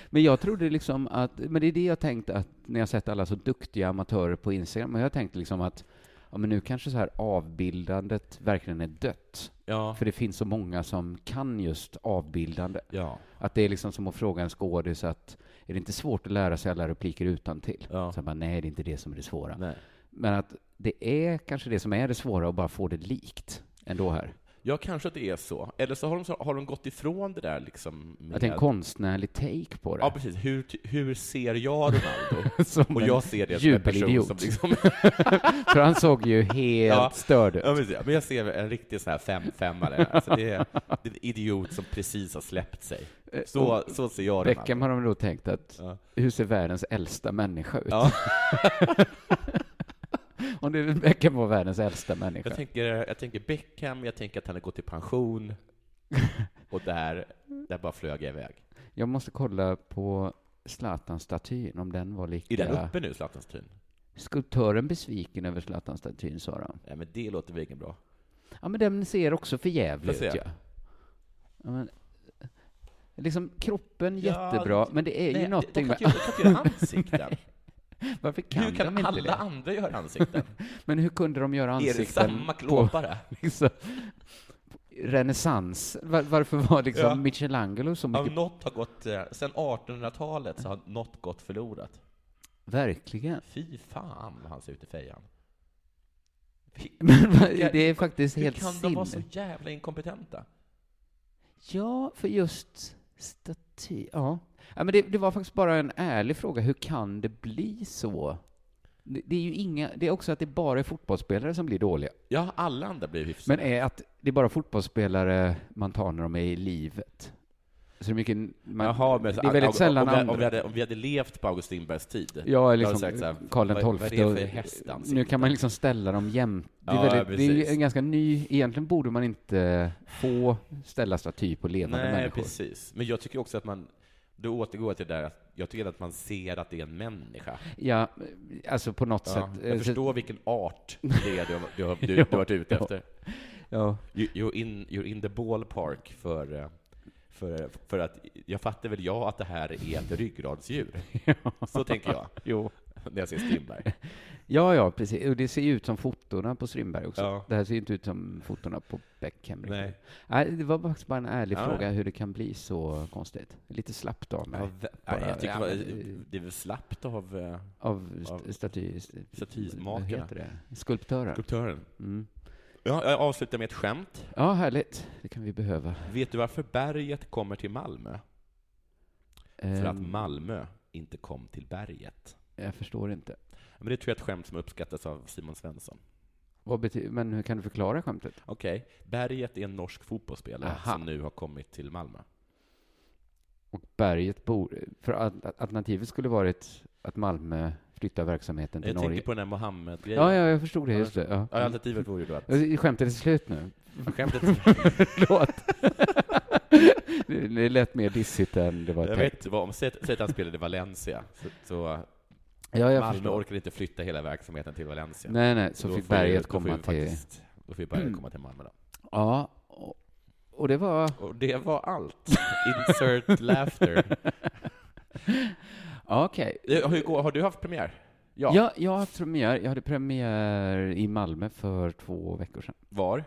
[SPEAKER 5] Men jag trodde liksom att, men det är det jag tänkt att när jag sett alla så duktiga amatörer på Instagram, men jag tänkte liksom att ja, men nu kanske så här avbildandet verkligen är dött.
[SPEAKER 3] Ja.
[SPEAKER 5] För det finns så många som kan just avbildande.
[SPEAKER 3] Ja.
[SPEAKER 5] Att det är liksom som att fråga en skådis att är det inte svårt att lära sig alla repliker utan till?
[SPEAKER 3] Ja.
[SPEAKER 5] Så jag bara, nej, det är inte det som är det svåra.
[SPEAKER 3] Nej.
[SPEAKER 5] Men att det är kanske det som är det svåra att bara få det likt ändå här.
[SPEAKER 3] Ja, kanske att det är så. Eller så har de, så har de gått ifrån det där liksom med...
[SPEAKER 5] Att det är en konstnärlig take på det.
[SPEAKER 3] Ja, precis. Hur, ty- hur ser jag Ronaldo?
[SPEAKER 5] [LAUGHS] Som
[SPEAKER 3] och
[SPEAKER 5] en
[SPEAKER 3] jag ser det som en person
[SPEAKER 5] jubelidiot.
[SPEAKER 3] som liksom...
[SPEAKER 5] [LAUGHS] För han såg ju helt
[SPEAKER 3] Ja.
[SPEAKER 5] störd ut.
[SPEAKER 3] ja, men precis. men jag ser en riktig så här femfemmare. Alltså det, är, det är en idiot som precis har släppt sig. Så, så ser jag
[SPEAKER 5] Eh, Beckham
[SPEAKER 3] Ronaldo.
[SPEAKER 5] har de då tänkt att
[SPEAKER 3] Ja.
[SPEAKER 5] hur ser världens äldsta människa ut?
[SPEAKER 3] Ja.
[SPEAKER 5] [LAUGHS] Om det Beckham var världens äldsta människa.
[SPEAKER 3] Jag tänker, jag tänker Beckham, jag tänker att han har gått
[SPEAKER 5] [LAUGHS]
[SPEAKER 3] i pension, och där, där bara flög jag iväg.
[SPEAKER 5] Jag måste kolla på Zlatan-statyn, om den var lika...
[SPEAKER 3] Är den uppe nu, Zlatans tyn?
[SPEAKER 5] Skulptören besviken över Zlatan-statyn, sa de.
[SPEAKER 3] Nej, men det låter väl bra.
[SPEAKER 5] Ja, men den ser också för jävlig ut,
[SPEAKER 3] Får jag se?
[SPEAKER 5] ja. ja men, eh, liksom, kroppen
[SPEAKER 3] Ja,
[SPEAKER 5] jättebra, men det är ju
[SPEAKER 3] de
[SPEAKER 5] någonting
[SPEAKER 3] kan
[SPEAKER 5] med... Ah,
[SPEAKER 3] inte göra- de kan inte göra ansikten.
[SPEAKER 5] Varför [LAUGHS] kan,
[SPEAKER 3] Hur kan
[SPEAKER 5] de inte
[SPEAKER 3] alla
[SPEAKER 5] det?
[SPEAKER 3] andra göra ansikten?
[SPEAKER 5] Men hur kunde de göra
[SPEAKER 3] Är det
[SPEAKER 5] ansikten
[SPEAKER 3] samma klåpare?
[SPEAKER 5] på [LAUGHS] liksom, renässans? Var, varför var liksom
[SPEAKER 3] Ja.
[SPEAKER 5] Michelangelo så
[SPEAKER 3] Ja,
[SPEAKER 5] mycket?
[SPEAKER 3] något har gått, eh, sen 1800-talet så har något gått förlorat.
[SPEAKER 5] Verkligen. [LAUGHS]
[SPEAKER 3] Fy fan vad han ser ut i fejan. Vi-
[SPEAKER 5] Men vad-
[SPEAKER 3] Vilka-
[SPEAKER 5] det är faktiskt
[SPEAKER 3] Hur
[SPEAKER 5] helt
[SPEAKER 3] kan de vara så
[SPEAKER 5] sinne.
[SPEAKER 3] jävla inkompetenta?
[SPEAKER 5] Ja, för just staty. Ja. ja men det, det var faktiskt bara en ärlig fråga. Hur kan det bli så? Det, det är ju inga, det är också att det bara är fotbollsspelare som blir dåliga.
[SPEAKER 3] Ja, alla andra blir hyfsade.
[SPEAKER 5] Men är att det är bara fotbollsspelare man tar när de är i livet? Så det är mycket, man,
[SPEAKER 3] Jaha, men
[SPEAKER 5] det är väldigt
[SPEAKER 3] om,
[SPEAKER 5] sällan
[SPEAKER 3] om, om, vi,
[SPEAKER 5] andra.
[SPEAKER 3] om, vi hade, om vi hade levt på August Strindbergs tid.
[SPEAKER 5] Ja,
[SPEAKER 3] då hade
[SPEAKER 5] liksom
[SPEAKER 3] jag sagt så här,
[SPEAKER 5] Karl
[SPEAKER 3] vad- Vad är
[SPEAKER 5] XII.
[SPEAKER 3] det för häst han
[SPEAKER 5] Nu
[SPEAKER 3] sitter?
[SPEAKER 5] kan man liksom ställa dem jämt. Det är,
[SPEAKER 3] Ja,
[SPEAKER 5] väldigt, det är ju
[SPEAKER 3] precis.
[SPEAKER 5] en ganska ny... Egentligen borde man inte få ställa staty på levande
[SPEAKER 3] Nej,
[SPEAKER 5] människor.
[SPEAKER 3] precis. Men jag tycker också att man, då återgår jag till det där att jag tycker att man ser att det är en människa.
[SPEAKER 5] Ja, alltså på något
[SPEAKER 3] Ja,
[SPEAKER 5] sätt. eh,
[SPEAKER 3] jag
[SPEAKER 5] så-
[SPEAKER 3] förstår vilken art det är du, har- du, har- du, du har varit
[SPEAKER 5] [LAUGHS]
[SPEAKER 3] ute
[SPEAKER 5] Ja,
[SPEAKER 3] efter.
[SPEAKER 5] Ja.
[SPEAKER 3] You- You're in, you're in the ballpark för, eh, för, för att jag fattar väl jag att det här är ett ryggradsdjur. Så tänker jag
[SPEAKER 5] Jo.
[SPEAKER 3] när jag ser
[SPEAKER 5] [LAUGHS]
[SPEAKER 3] Strindberg.
[SPEAKER 5] Ja, ja, precis. Och det ser ju ut som fotona på Strindberg också.
[SPEAKER 3] Ja.
[SPEAKER 5] Det här ser ju inte ut som fotona på Beckham. riktigt.
[SPEAKER 3] Nej.
[SPEAKER 5] Nej, det var faktiskt bara en ärlig
[SPEAKER 3] Ja,
[SPEAKER 5] fråga hur det kan bli så konstigt. Lite slappt av mig.
[SPEAKER 3] Ja, vä- nej, jag tycker
[SPEAKER 5] ja,
[SPEAKER 3] bara-
[SPEAKER 5] men-
[SPEAKER 3] det är väl slappt av eh,
[SPEAKER 5] Av st-
[SPEAKER 3] av
[SPEAKER 5] staty... Vad
[SPEAKER 3] statymakarna.
[SPEAKER 5] heter det? Skulptören.
[SPEAKER 3] skulptören.
[SPEAKER 5] Mm.
[SPEAKER 3] Ja, jag avslutar med ett skämt.
[SPEAKER 5] Ja, härligt. Det kan vi behöva.
[SPEAKER 3] Vet du varför berget kommer till Malmö? För att
[SPEAKER 5] Ehm,
[SPEAKER 3] Malmö inte kom till berget.
[SPEAKER 5] Jag förstår inte.
[SPEAKER 3] Men det tror jag är ett skämt som uppskattas av Simon Svensson.
[SPEAKER 5] Vad bety- men hur kan du förklara skämtet?
[SPEAKER 3] Okej, Berget är en norsk fotbollsspelare
[SPEAKER 5] Aha.
[SPEAKER 3] som nu har kommit till Malmö.
[SPEAKER 5] Och berget bor... För att- att- alternativet skulle varit att Malmö flyttar verksamheten till
[SPEAKER 3] Jag
[SPEAKER 5] Norge.
[SPEAKER 3] tänkte på den här Mohammed-grejen.
[SPEAKER 5] Ja, ja, jag förstod det. Just det. Ja.
[SPEAKER 3] Ja, alternativet vore ju då att...
[SPEAKER 5] Jag skämtade till slut nu. [LAUGHS]
[SPEAKER 3] Skämtet...
[SPEAKER 5] Förlåt. [LAUGHS] det, det lät mer dissigt än det var
[SPEAKER 3] Jag
[SPEAKER 5] tänkt.
[SPEAKER 3] vet vad, om säg säg att han spelade i Valencia, så, så
[SPEAKER 5] Ja, jag
[SPEAKER 3] Malmö
[SPEAKER 5] förstår.
[SPEAKER 3] orkade inte flytta hela verksamheten till Valencia.
[SPEAKER 5] Nej, nej, så
[SPEAKER 3] då
[SPEAKER 5] fick
[SPEAKER 3] får ju-
[SPEAKER 5] berget
[SPEAKER 3] då får ju
[SPEAKER 5] komma till-
[SPEAKER 3] faktiskt- Då fick berget komma till Malmö då.
[SPEAKER 5] Ja, och, och det var...
[SPEAKER 3] Och det var allt. [LAUGHS] Insert laughter.
[SPEAKER 5] Ja, Okej.
[SPEAKER 3] Eh, Hur går, har du haft premiär?
[SPEAKER 5] Ja. Jag, jag har haft premiär. Jag hade premiär i Malmö för två veckor sedan.
[SPEAKER 3] Var?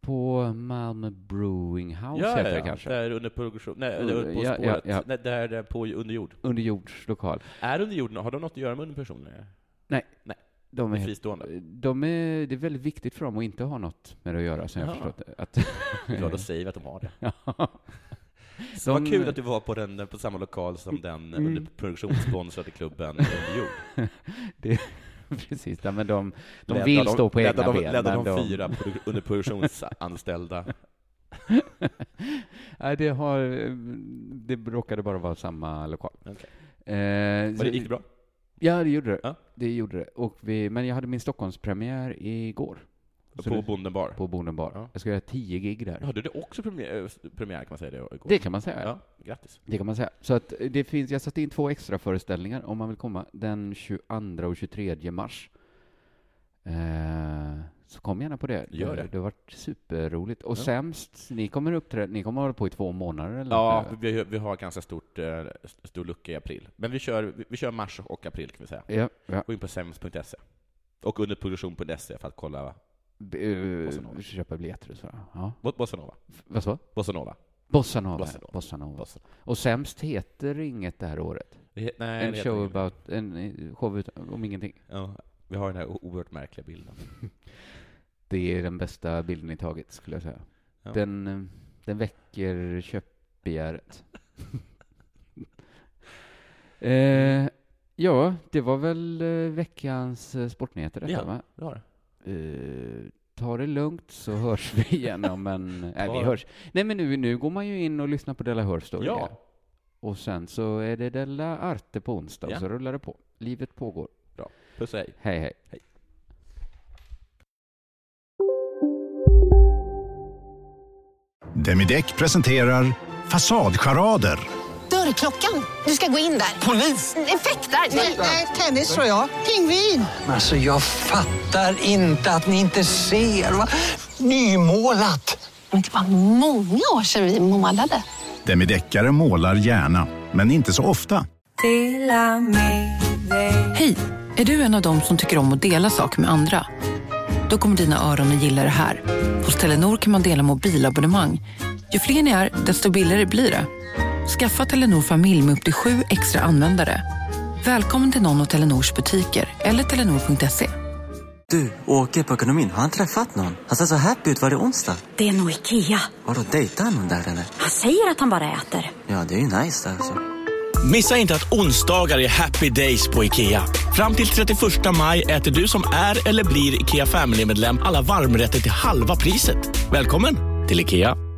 [SPEAKER 5] På Malmö Brewing House heter det kanske.
[SPEAKER 3] Där under produktion, nej,
[SPEAKER 5] Under-
[SPEAKER 3] under, på
[SPEAKER 5] ja,
[SPEAKER 3] spåret,
[SPEAKER 5] ja, ja.
[SPEAKER 3] Nej, där eh, på under jord.
[SPEAKER 5] Underjordslokal.
[SPEAKER 3] Är under jord, har de något att göra med underpersoner?
[SPEAKER 5] De
[SPEAKER 3] De
[SPEAKER 5] är,
[SPEAKER 3] är
[SPEAKER 5] helt-
[SPEAKER 3] fristående?
[SPEAKER 5] de är, det är väldigt viktigt för dem att inte ha något med det att göra, som jag har
[SPEAKER 3] Jaha.
[SPEAKER 5] förstått det.
[SPEAKER 3] [LAUGHS] Ja,
[SPEAKER 5] [LAUGHS]
[SPEAKER 3] då säger vi att de har det.
[SPEAKER 5] Att,
[SPEAKER 3] Så Vad kul att du var på, den, på samma lokal som den
[SPEAKER 5] Mm.
[SPEAKER 3] under produktionssponsrade klubben under jord.
[SPEAKER 5] Precis, ja, men de, [LAUGHS] de
[SPEAKER 3] Ledda
[SPEAKER 5] vill stå på
[SPEAKER 3] ledda
[SPEAKER 5] egna
[SPEAKER 3] de,
[SPEAKER 5] ben.
[SPEAKER 3] Ledda
[SPEAKER 5] men
[SPEAKER 3] de, fyra produ- under produktionsanställda.
[SPEAKER 5] [LAUGHS] Nej, det, har, det råkade bara vara samma lokal.
[SPEAKER 3] Okej.
[SPEAKER 5] Eh,
[SPEAKER 3] Var
[SPEAKER 5] så-
[SPEAKER 3] det, gick det bra?
[SPEAKER 5] Ja, det gjorde det.
[SPEAKER 3] Ja.
[SPEAKER 5] det, gjorde det. Och vi, men jag hade min Stockholmspremiär igår. Så
[SPEAKER 3] på
[SPEAKER 5] det-
[SPEAKER 3] Bonden bar?
[SPEAKER 5] på Bonden bar.
[SPEAKER 3] Ja.
[SPEAKER 5] Jag ska göra tio gig där.
[SPEAKER 3] Hade du också premiär, eh, premiär, kan man säga det? Igår?
[SPEAKER 5] Det kan man säga.
[SPEAKER 3] Ja, grattis.
[SPEAKER 5] Det kan man säga. Så att eh, det finns, jag satte in två extra föreställningar om man vill komma. Den 22 och 23 mars. Eh, så kom gärna på det.
[SPEAKER 3] Gör det.
[SPEAKER 5] Det har varit superroligt. Och
[SPEAKER 3] Ja.
[SPEAKER 5] sämst, ni kommer uppträda, ni kommer hålla på i två månader eller?
[SPEAKER 3] Ja, vi, vi har ganska stort, eh, stor lucka i april. Men vi kör, vi, vi kör mars och april kan vi säga.
[SPEAKER 5] Ja, ja.
[SPEAKER 3] Gå in på sems.se och underproduktion.se för att kolla Bossa Nova.
[SPEAKER 5] Uh, köpa biljetter och så. Ja.
[SPEAKER 3] Bo- Bossa Nova.
[SPEAKER 5] F- Vad sa
[SPEAKER 3] Bossa Nova.
[SPEAKER 5] Bossa Nova.
[SPEAKER 3] Bossa Nova.
[SPEAKER 5] Bossa Nova.
[SPEAKER 3] Bossa Nova.
[SPEAKER 5] Och sämst heter inget det här året.
[SPEAKER 3] Det he- nej,
[SPEAKER 5] en
[SPEAKER 3] det
[SPEAKER 5] show
[SPEAKER 3] heter-
[SPEAKER 5] about, en eh, show ut, om ingenting.
[SPEAKER 3] Ja, vi har den här o- oerhört märkliga bilden.
[SPEAKER 5] Det är den bästa bilden i taget, skulle jag säga.
[SPEAKER 3] Ja.
[SPEAKER 5] Den, eh, den väcker
[SPEAKER 3] [LAUGHS]
[SPEAKER 5] köpbegäret.
[SPEAKER 3] Mm.
[SPEAKER 5] eh, ja, det var väl eh, veckans eh, sportnyheter detta,
[SPEAKER 3] Ja.
[SPEAKER 5] va?
[SPEAKER 3] Du har det?
[SPEAKER 5] Eh, ta det lugnt så hörs
[SPEAKER 3] [LAUGHS]
[SPEAKER 5] vi igen om en... Nej,
[SPEAKER 3] Ta-
[SPEAKER 5] vi hörs. Nej, men nu, nu går man ju in och lyssnar på Della Hör Story.
[SPEAKER 3] Ja.
[SPEAKER 5] Och sen så är det Della Arte på onsdag,
[SPEAKER 3] Ja.
[SPEAKER 5] och så rullar det på. Livet pågår.
[SPEAKER 3] Puss och hej.
[SPEAKER 5] Hej, hej.
[SPEAKER 6] Demideck presenterar Fasadcharader.
[SPEAKER 10] Dörrklockan. Du ska gå in där. Polis? Effektar? Nej, tennis tror jag. Pingvin.
[SPEAKER 11] Alltså jag fattar inte att ni inte ser. Va? Nymålat!
[SPEAKER 10] Men det var många år sedan vi målade.
[SPEAKER 6] Demideckare målar gärna, men inte så ofta.
[SPEAKER 12] Hej! Är du en av dem som tycker om att dela saker med andra? Då kommer dina öron att gilla det här. Hos Telenor kan man dela mobilabonnemang. Ju fler ni är, desto billigare blir det. Skaffa Telenor familj med upp till sju extra användare. Välkommen till någon av Telenors butiker eller telenor.se.
[SPEAKER 13] Du, åker på ekonomin. Har han träffat någon? Han ser så happy ut. Var det onsdag?
[SPEAKER 14] Det är nog Ikea.
[SPEAKER 13] Har du dejtar någon där eller?
[SPEAKER 14] Han säger att han bara äter.
[SPEAKER 13] Ja, det är ju nice alltså.
[SPEAKER 15] Missa inte att onsdagar är happy days på IKEA. Fram till 31 maj äter du som är eller blir IKEA Family-medlem alla varmrätter till halva priset. Välkommen till IKEA!